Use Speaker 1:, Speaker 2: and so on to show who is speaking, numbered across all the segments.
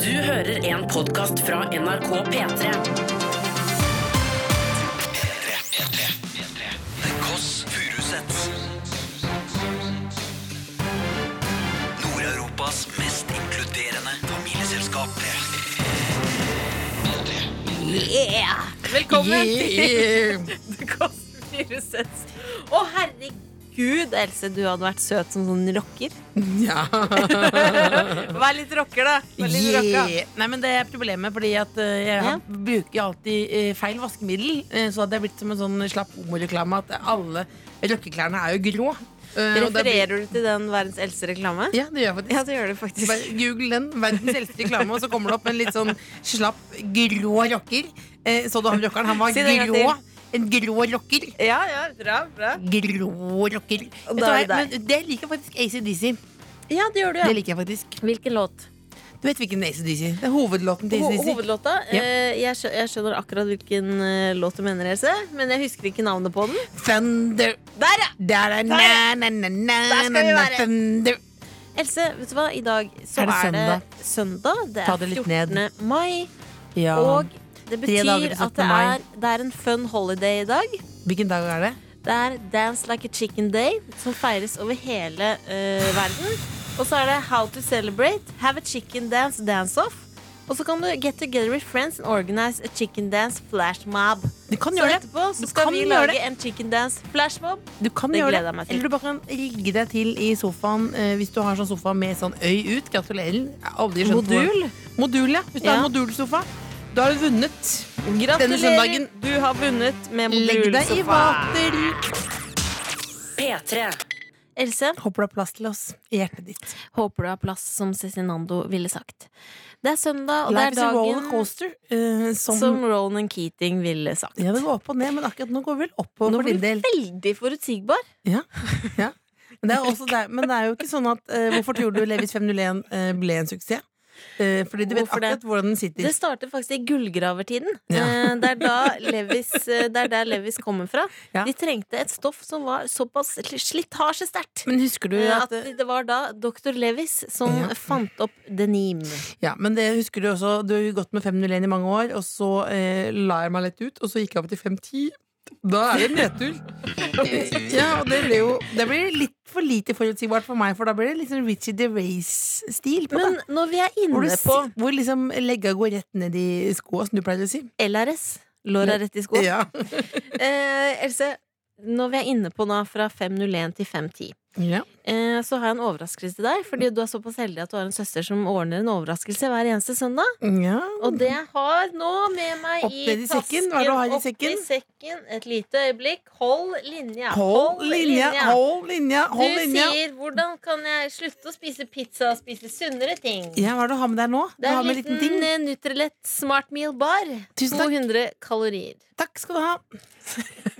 Speaker 1: Du hører en podkast fra NRK P3.
Speaker 2: The Kåss Furuseths. Nord-Europas mest inkluderende familieselskap.
Speaker 3: Velkommen til The Kåss Furuseths. Å, herregud, Else, du hadde vært søt som sånn rocker.
Speaker 4: Ja.
Speaker 3: Vær litt rocker, da. Vær litt rocka.
Speaker 4: Yeah. Nei, men det er problemet, fordi at eh, jeg
Speaker 3: Ja.
Speaker 4: bruker alltid eh, feil vaskemiddel. eh, så hadde jeg blitt som en sånn slapp homoreklame at alle rockeklærne er jo grå. Eh, og da blir-
Speaker 3: Refererer du til den verdens eldste reklame?
Speaker 4: Ja, det gjør jeg faktisk.
Speaker 3: Ja, det gjør du faktisk.
Speaker 4: Bare Google den. Verdens eldste reklame, og så kommer det opp en litt sånn slapp, grå rocker. Eh, så du han rockeren? Han var
Speaker 3: Si det en gang
Speaker 4: grå. En grå rocker.
Speaker 3: Ja, ja, bra, bra.
Speaker 4: Grå rocker.
Speaker 3: Og
Speaker 4: Vet du
Speaker 3: da er
Speaker 4: hva,
Speaker 3: det deg.
Speaker 4: men det liker jeg faktisk ACDC.
Speaker 3: Ja, det gjør du,
Speaker 4: Det
Speaker 3: ja.
Speaker 4: liker jeg faktisk.
Speaker 3: Hvilken låt?
Speaker 4: Du vet hvilken ACDC? Det er hovedlåten til
Speaker 3: Ho
Speaker 4: ACDC.
Speaker 3: hovedlåta?
Speaker 4: Ja.
Speaker 3: Eh, jeg, skjø jeg skjønner akkurat hvilken eh, låt du mener, Else, men jeg husker ikke navnet på den.
Speaker 4: Thunder
Speaker 3: Der, ja!
Speaker 4: da, da, na, na, na, na,
Speaker 3: Der skal vi
Speaker 4: na, na,
Speaker 3: være.
Speaker 4: Thunder
Speaker 3: Else, vet du hva? I dag så
Speaker 4: Er det
Speaker 3: er det søndag. Det
Speaker 4: Ta
Speaker 3: er
Speaker 4: det litt
Speaker 3: 14.
Speaker 4: ned.
Speaker 3: mai.
Speaker 4: ja.
Speaker 3: Og det
Speaker 4: Tre
Speaker 3: betyr
Speaker 4: dager til
Speaker 3: at det
Speaker 4: 17. mai.
Speaker 3: er, det er en fun holiday i dag.
Speaker 4: Hvilken dag er det?
Speaker 3: Det er Dance like a chicken day, som feires over hele eh, verden. Og så er det How to celebrate, have a chicken dance, dance off. Og så kan du get together with friends and organize a chicken dance flash mob.
Speaker 4: Du kan
Speaker 3: Så
Speaker 4: gjøre det.
Speaker 3: etterpå så
Speaker 4: Du
Speaker 3: skal
Speaker 4: kan
Speaker 3: vi
Speaker 4: gjøre
Speaker 3: lage en chicken dance flash mob.
Speaker 4: Du kan
Speaker 3: Det
Speaker 4: gjøre
Speaker 3: gleder jeg meg til.
Speaker 4: Eller du bare kan rigge deg til i sofaen eh, hvis du har sånn sofa med sånn øy ut. Gratulerer. Jeg har aldri skjønt
Speaker 3: Modul?
Speaker 4: hvor- Modul, ja. Hvis du
Speaker 3: Ja.
Speaker 4: har modulsofa, da har du vunnet. Denne
Speaker 3: Gratulerer,
Speaker 4: søndagen.
Speaker 3: du har vunnet med
Speaker 4: Legg deg i
Speaker 3: modulsofa.
Speaker 4: vater.
Speaker 1: P3.
Speaker 3: Else,
Speaker 4: Håper du har plass til oss i hjertet ditt.
Speaker 3: håper du har plass, som Cezinando ville sagt. Det er søndag, og det
Speaker 4: Life
Speaker 3: er
Speaker 4: is a roller
Speaker 3: dagen
Speaker 4: coaster. eh, som,
Speaker 3: Som Ronan Keating ville sagt.
Speaker 4: ja, det går opp og ned, men akkurat nå går vi vel oppover
Speaker 3: Nå
Speaker 4: for
Speaker 3: blir
Speaker 4: din del.
Speaker 3: du veldig forutsigbar.
Speaker 4: Ja, ja. Men, det er også der, men det er jo ikke sånn at eh, Hvorfor tror du Levis 501 eh, ble en suksess? Eh, fordi du vet
Speaker 3: Hvorfor det?
Speaker 4: akkurat hvordan den sitter.
Speaker 3: Det starter faktisk i gullgravertiden.
Speaker 4: Ja.
Speaker 3: Eh, Det, er da Levis, eh, det er der Levis kommer fra.
Speaker 4: Ja.
Speaker 3: De trengte et stoff som var såpass slitasjesterkt.
Speaker 4: Men husker du
Speaker 3: eh,
Speaker 4: at,
Speaker 3: At det var da doktor Levis som
Speaker 4: Ja.
Speaker 3: fant opp denim.
Speaker 4: Ja, men det husker du også Du har jo gått med 501 i mange år, og så eh, la jeg meg litt ut, og så gikk jeg opp til 510. Da er det nedtur. ja, og det blir jo Det blir litt for lite forutsigbart for meg, for da blir det litt sånn Richie DeRace-stil. på det.
Speaker 3: Men når vi er
Speaker 4: Hvor, du,
Speaker 3: inne på
Speaker 4: si- hvor liksom legga går rett ned i skoa, som du pleier å si.
Speaker 3: LRS, låra rett i skoen
Speaker 4: Ja.
Speaker 3: eh, Else, når vi er inne på nå fra 501 til 510
Speaker 4: ja.
Speaker 3: Eh, så har jeg en overraskelse til deg. Fordi du er såpass heldig at du har en søster som ordner en overraskelse hver eneste søndag.
Speaker 4: ja.
Speaker 3: Og det jeg har nå med meg
Speaker 4: Opp
Speaker 3: i
Speaker 4: ned i sekken. Hva er det du har i
Speaker 3: opp
Speaker 4: sekken?
Speaker 3: sekken. Et lite øyeblikk. Hold linja.
Speaker 4: Hold linja, hold linja, hold
Speaker 3: du
Speaker 4: linja.
Speaker 3: sier 'hvordan kan jeg slutte å spise pizza og spise sunnere ting'?
Speaker 4: Ja, hva er det du har med deg nå? Du
Speaker 3: Det er
Speaker 4: har
Speaker 3: en
Speaker 4: med en
Speaker 3: liten,
Speaker 4: liten ting.
Speaker 3: eh, Nutrilett Smart Meal Bar.
Speaker 4: Tusen takk.
Speaker 3: 200 kalorier.
Speaker 4: Takk skal du ha.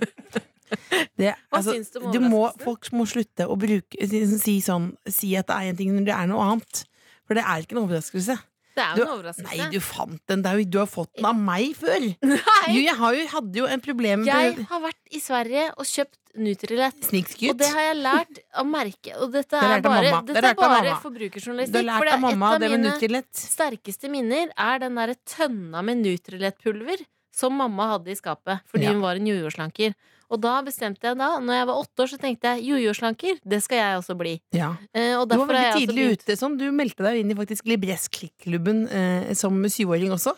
Speaker 4: Det,
Speaker 3: Hva
Speaker 4: altså,
Speaker 3: syns du om
Speaker 4: du må,
Speaker 3: overraskelsen?
Speaker 4: folk må slutte å bruke, si, si, sånn, si at det er en ting når det er noe annet. For det er ikke en overraskelse.
Speaker 3: Det er
Speaker 4: Du-
Speaker 3: jo en overraskelse.
Speaker 4: Nei, du fant den. Det er jo, du har fått den av meg før.
Speaker 3: Nei.
Speaker 4: Jo, jeg har jo, hadde jo en problem
Speaker 3: Jeg
Speaker 4: med
Speaker 3: har vært i Sverige og kjøpt Nutrilett. Og
Speaker 4: snikskryt.
Speaker 3: det har jeg lært av merke. Og dette
Speaker 4: har
Speaker 3: er
Speaker 4: lært av
Speaker 3: bare,
Speaker 4: mamma. Det
Speaker 3: dette er
Speaker 4: har lært av
Speaker 3: bare
Speaker 4: mamma.
Speaker 3: forbrukersjournalistikk.
Speaker 4: Du har
Speaker 3: for det
Speaker 4: lært
Speaker 3: er
Speaker 4: av
Speaker 3: et
Speaker 4: mamma
Speaker 3: av
Speaker 4: det med
Speaker 3: mine
Speaker 4: Nutrilett.
Speaker 3: sterkeste minner er den derre tønna med Nutrilett-pulver som mamma hadde i skapet fordi
Speaker 4: Ja.
Speaker 3: hun var en jojo-slanker. Og da bestemte jeg da, når jeg var åtte år, så tenkte jeg jojo-slanker, det skal jeg også bli.
Speaker 4: Ja.
Speaker 3: Eh, og
Speaker 4: Du var
Speaker 3: derfor har jeg
Speaker 4: veldig
Speaker 3: altså
Speaker 4: tidlig
Speaker 3: begynt.
Speaker 4: ute. Sånn. Du meldte deg jo inn i faktisk Libresk-klikklubben eh, som syvåring også.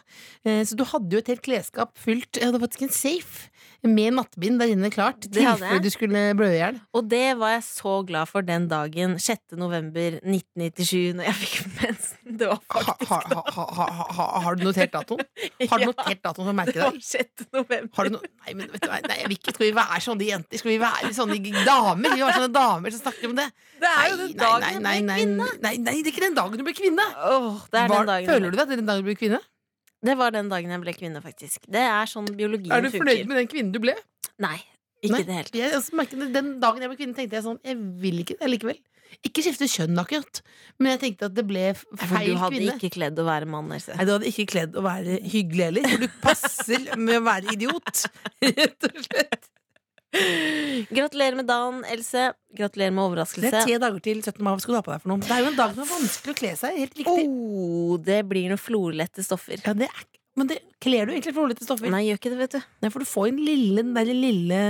Speaker 4: Eh, så du hadde jo et helt klesskap fullt. Jeg hadde faktisk en safe med nattbind der inne klart.
Speaker 3: Det hadde jeg.
Speaker 4: Tilfelle du skulle blø i hjel.
Speaker 3: Og det var jeg så glad for den dagen, 6. november 1997, når jeg fikk mensen. Det var
Speaker 4: Ha,
Speaker 3: faktisk
Speaker 4: ha, ha, ha, ha, ha, har du notert datoen? Har du
Speaker 3: Ja,
Speaker 4: notert datoen
Speaker 3: det
Speaker 4: som
Speaker 3: var
Speaker 4: merkedag?
Speaker 3: 6. november.
Speaker 4: Har du no nei, men vet du, hva, nei, jeg vil ikke. Skal vi være sånne jenter? Skal vi være sånne damer? Vi var sånne damer som snakker om det.
Speaker 3: Det er jo
Speaker 4: Nei,
Speaker 3: den
Speaker 4: nei,
Speaker 3: dagen
Speaker 4: nei,
Speaker 3: jeg
Speaker 4: nei,
Speaker 3: ble
Speaker 4: nei,
Speaker 3: kvinne.
Speaker 4: nei, nei, det er ikke den dagen du blir kvinne.
Speaker 3: Åh, det er
Speaker 4: Var-
Speaker 3: den dagen jeg ble
Speaker 4: føler du deg til den dagen du blir kvinne?
Speaker 3: Det var den dagen jeg ble kvinne, faktisk. Det er sånn biologien
Speaker 4: Er du fornøyd med den kvinnen du ble?
Speaker 3: Nei, ikke
Speaker 4: Nei.
Speaker 3: i det hele tatt.
Speaker 4: jeg, altså, merket det, Den dagen jeg ble kvinne, tenkte jeg sånn Jeg vil ikke det likevel. Ikke skifte kjønn akkurat, men jeg tenkte at det ble f-
Speaker 3: Nei, For
Speaker 4: feil
Speaker 3: du hadde
Speaker 4: kvinne.
Speaker 3: ikke kledd å være mann. Else.
Speaker 4: Nei, Du hadde ikke kledd å være hyggelig heller, for du passer med å være idiot. Rett og slett.
Speaker 3: Gratulerer med dagen, Else. Gratulerer med
Speaker 4: Det er
Speaker 3: overraskelse.
Speaker 4: tre dager til 17. mai. Hva skal du ha på deg for noe? Det er jo en dag som er vanskelig å kle seg. i, Helt riktig.
Speaker 3: Oh, det blir noen florlette stoffer.
Speaker 4: Ja, det er, ikke- men det kler du egentlig for rolige stoffer.
Speaker 3: Nei, gjør ikke det, vet du.
Speaker 4: Nei, for du får den lille, den der lille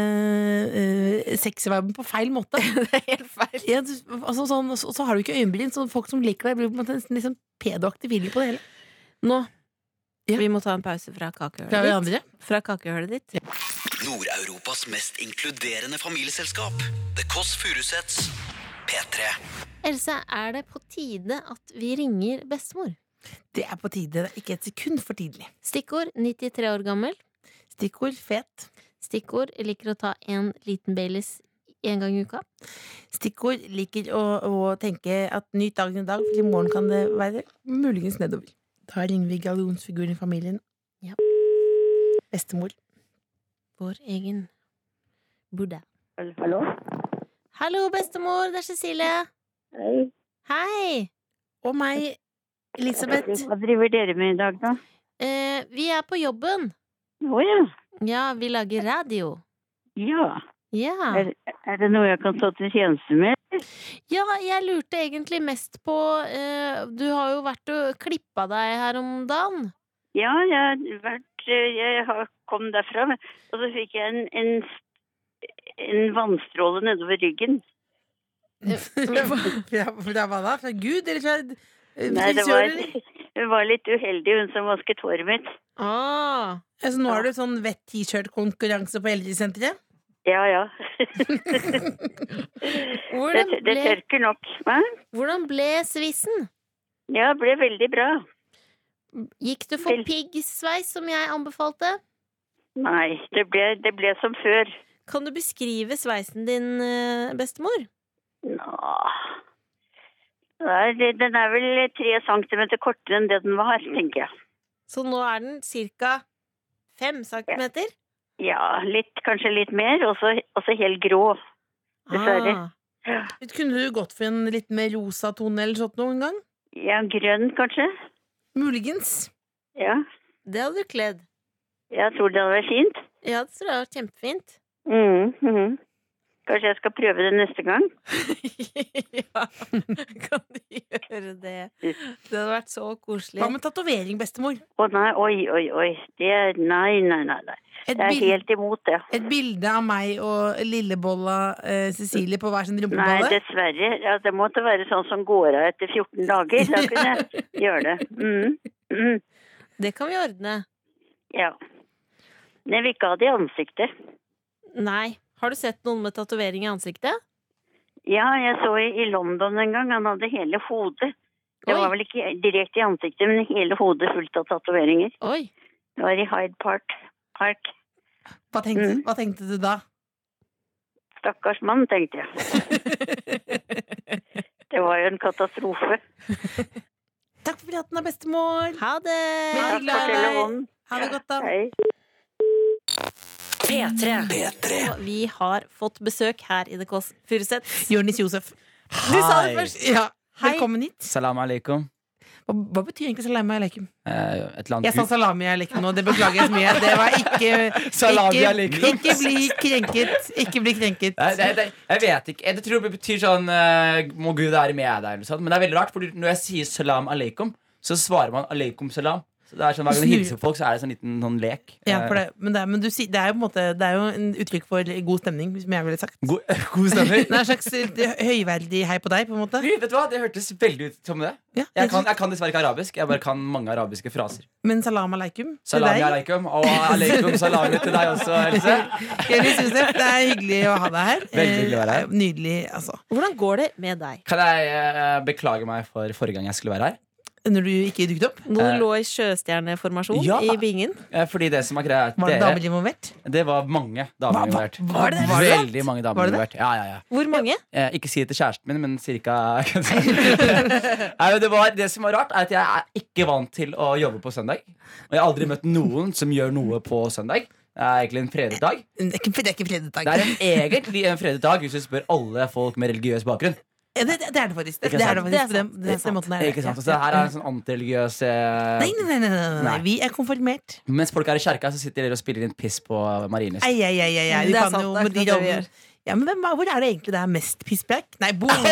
Speaker 4: eh, sexyviben på feil måte.
Speaker 3: Det er helt feil.
Speaker 4: Ja, du, altså, sånn, og så, og så har du ikke øyenbryn, så folk som liker deg, blir på en måte nesten litt sånn pedoaktig feeling på det hele.
Speaker 3: Nå.
Speaker 4: Ja.
Speaker 3: Vi må ta en pause fra kakehølet
Speaker 4: Fra det
Speaker 3: ditt.
Speaker 4: andre.
Speaker 3: Fra kakehølet ditt.
Speaker 2: Nord-Europas mest inkluderende familieselskap. The Kåss Furuseths. P3.
Speaker 3: Else, er det på tide at vi ringer bestemor?
Speaker 4: Det er på tide. Det er ikke et sekund for tidlig.
Speaker 3: Stikkord 93 år gammel.
Speaker 4: Stikkord fet.
Speaker 3: Stikkord liker å ta en liten Baileys én gang i uka.
Speaker 4: Stikkord liker å, å tenke at nyt dagen i dag, for i morgen kan det være muligens nedover. Da ringer vi gallionsfiguren i familien.
Speaker 3: Ja.
Speaker 4: Bestemor.
Speaker 3: Vår egen Buddha.
Speaker 5: Hallo?
Speaker 3: Hallo, bestemor! Det er Cecilie.
Speaker 5: Hei.
Speaker 3: Hei!
Speaker 4: Og meg, Elisabeth.
Speaker 5: Hva driver dere med i dag, da?
Speaker 3: Eh, vi er på jobben.
Speaker 5: Å ja.
Speaker 3: Ja, vi lager radio.
Speaker 5: Ja.
Speaker 3: Ja.
Speaker 5: Er, er det noe jeg kan stå til tjeneste med?
Speaker 3: ja, jeg lurte egentlig mest på eh, Du har jo vært og klippa deg her om dagen.
Speaker 5: Ja, jeg har vært eh, Jeg har kom derfra, men- og så fikk jeg en, en, en vannstråle nedover ryggen.
Speaker 4: Fra, fra hva da? Fra Gud, eller fra eh,
Speaker 5: Nei, det var,
Speaker 4: frisører?
Speaker 5: hun var litt uheldig, hun som vasket håret mitt.
Speaker 3: Ah.
Speaker 4: Altså, nå har du sånn vett T-shirt-konkurranse på eldresenteret.
Speaker 5: Ja, ja. Det,
Speaker 3: Hvordan
Speaker 5: det
Speaker 3: ble,
Speaker 5: tørker nok. Hva?
Speaker 3: hvordan ble svisen?
Speaker 5: Ja, det ble veldig bra.
Speaker 3: Gikk du for
Speaker 5: Vel-
Speaker 3: piggsveis, som jeg anbefalte?
Speaker 5: Nei, det ble, det ble som før.
Speaker 3: Kan du beskrive sveisen din, eh, bestemor?
Speaker 5: Nå Nei, det- Den er vel tre centimeter kortere enn det den var, tenker jeg.
Speaker 3: Så nå er den cirka fem centimeter?
Speaker 5: Ja, litt, kanskje litt mer, og så og så helt grå. Dessverre.
Speaker 3: Ah.
Speaker 4: Kunne du gått for en litt mer rosa tone eller sånt noen gang?
Speaker 5: Ja, grønn kanskje.
Speaker 4: Muligens.
Speaker 5: Ja,
Speaker 3: Det hadde du kledd.
Speaker 5: jeg tror det hadde vært fint.
Speaker 3: Ja, det tror jeg var kjempefint.
Speaker 5: Mm, mhm. Kanskje jeg skal prøve det neste gang.
Speaker 3: ja, kan du gjøre det? Det hadde vært så koselig.
Speaker 4: Hva med tatovering, bestemor?
Speaker 5: Å nei, oi, oi, oi. Det er, nei, nei, nei, nei.
Speaker 4: Et,
Speaker 5: Det er
Speaker 4: bil-
Speaker 5: helt imot det.
Speaker 4: et bilde av meg og lillebolla eh, Cecilie på hver sin
Speaker 5: Nei,
Speaker 4: rumpebolle?
Speaker 5: dessverre. Ja, det måtte være sånn som går av etter 14 dager. Da kunne jeg gjøre det. Mm. Mm.
Speaker 3: Det kan vi ordne.
Speaker 5: Ja. Men jeg vil ikke ha det i ansiktet.
Speaker 3: Nei. Har du sett noen med tatovering i ansiktet?
Speaker 5: Ja, jeg så i, i London en gang. Han hadde hele hodet. Det
Speaker 3: Oi.
Speaker 5: var vel ikke direkte i ansiktet, men hele hodet fullt av tatoveringer.
Speaker 3: Oi.
Speaker 5: Det var i Hyde Park. Park.
Speaker 4: Hva tenkte,
Speaker 5: Mm.
Speaker 4: hva tenkte du da?
Speaker 5: Stakkars mann, tenkte jeg. Det var jo en katastrofe.
Speaker 4: Takk for praten, da, bestemor!
Speaker 3: Ha det!
Speaker 4: Men-
Speaker 5: Takk
Speaker 4: hyggelig av
Speaker 5: for
Speaker 4: deg.
Speaker 5: telefonen.
Speaker 4: Ha det godt, da.
Speaker 5: Hei.
Speaker 1: P3.
Speaker 2: P3.
Speaker 3: Og Vi har fått besøk her i The Kåss Furuseth.
Speaker 4: Jonis Josef.
Speaker 6: Hei.
Speaker 4: Du sa det først! Ja.
Speaker 3: Hei.
Speaker 4: Velkommen hit.
Speaker 6: Salam alaikum.
Speaker 4: Hva, hva betyr egentlig salami aleikum?
Speaker 6: Eh, et eller
Speaker 4: Jeg
Speaker 6: annet
Speaker 4: sa salami aleikum nå, det beklager jeg så mye. Det var ikke
Speaker 6: Salami
Speaker 4: ikke,
Speaker 6: aleikum.
Speaker 4: ikke bli krenket. Ikke bli krenket.
Speaker 6: Nei, nei, nei, jeg vet ikke. Jeg tror det betyr sånn eh, Må Gud være med deg, eller noe sånt. Men det er veldig rart, Fordi når jeg sier salam aleikum, så svarer man aleikum salam. Så det er sånn Hver gang du hilser på folk, så er det sånn liten sånn lek.
Speaker 4: Ja, for
Speaker 6: Eh,
Speaker 4: det, men det, er- men du, sier- det er jo på en måte Det er jo en uttrykk for god stemning, som jeg ville sagt.
Speaker 6: Eh, God, god stemning.
Speaker 4: Det er en slags høyverdig hei på deg, på en måte.
Speaker 6: Vet du hva, Det hørtes veldig ut som det.
Speaker 4: Ja,
Speaker 6: Jeg kan, jeg kan dessverre ikke arabisk. Jeg bare kan mange arabiske fraser.
Speaker 4: Men salam aleikum til
Speaker 6: Salami
Speaker 4: deg.
Speaker 6: aleikum og aleikum salami til deg også, Else.
Speaker 4: Jonis Josef, det er hyggelig å ha deg her.
Speaker 6: Veldig hyggelig å være her.
Speaker 4: Eh, Nydelig, altså.
Speaker 3: Hvordan går det med deg?
Speaker 6: Kan jeg eh, beklage meg for forrige gang jeg skulle være her?
Speaker 4: Når du ikke dukket opp,
Speaker 3: Nå
Speaker 6: Eh,
Speaker 3: lå i sjøstjerneformasjon
Speaker 6: ja.
Speaker 3: i bingen.
Speaker 6: Eh, Fordi det som er greia, er at
Speaker 4: var det
Speaker 6: dere
Speaker 4: damer involvert?
Speaker 6: Det var mange
Speaker 4: Hva-
Speaker 6: damer
Speaker 4: hva-
Speaker 6: involvert.
Speaker 4: var det det? Var det sant?
Speaker 6: Veldig mange damer
Speaker 4: Var det det?
Speaker 6: involvert. Ja, ja, ja.
Speaker 3: Hvor mange?
Speaker 6: Eh, ikke si det til kjæresten min, men cirka Nei, men det, var, det som var rart, er at jeg er ikke vant til å jobbe på søndag. Og jeg har aldri møtt noen som gjør noe på søndag. Det er egentlig en fredag dag.
Speaker 4: Det er ikke, det er ikke fredag.
Speaker 6: Det er en egentlig en fredag dag hvis du spør alle folk med religiøs bakgrunn.
Speaker 4: Ja, Det, det er det faktisk. Det,
Speaker 6: Ikke
Speaker 4: det er det
Speaker 6: sant?
Speaker 4: faktisk. på
Speaker 3: Det er
Speaker 4: den-
Speaker 3: sant.
Speaker 4: den- den måten er det.
Speaker 6: Ikke sant? Så det her er en sånn antireligiøs eh,
Speaker 4: Nei, nei, nei, nei, nei, nei.
Speaker 6: Nei.
Speaker 4: Vi er konfirmert.
Speaker 6: Mens folk er i kjerka, så sitter dere og spiller inn piss på Marienlyst.
Speaker 4: Ei, ei, ei, ei, ei.
Speaker 3: Mm,
Speaker 4: Du
Speaker 3: Det er
Speaker 4: kan
Speaker 3: sant,
Speaker 4: jo
Speaker 3: det er akkurat
Speaker 4: med de
Speaker 3: det vi
Speaker 4: rollene.
Speaker 3: gjør.
Speaker 4: Ja, men hvem, er- hvor er det egentlig det er mest pisspreik? Nei, boom!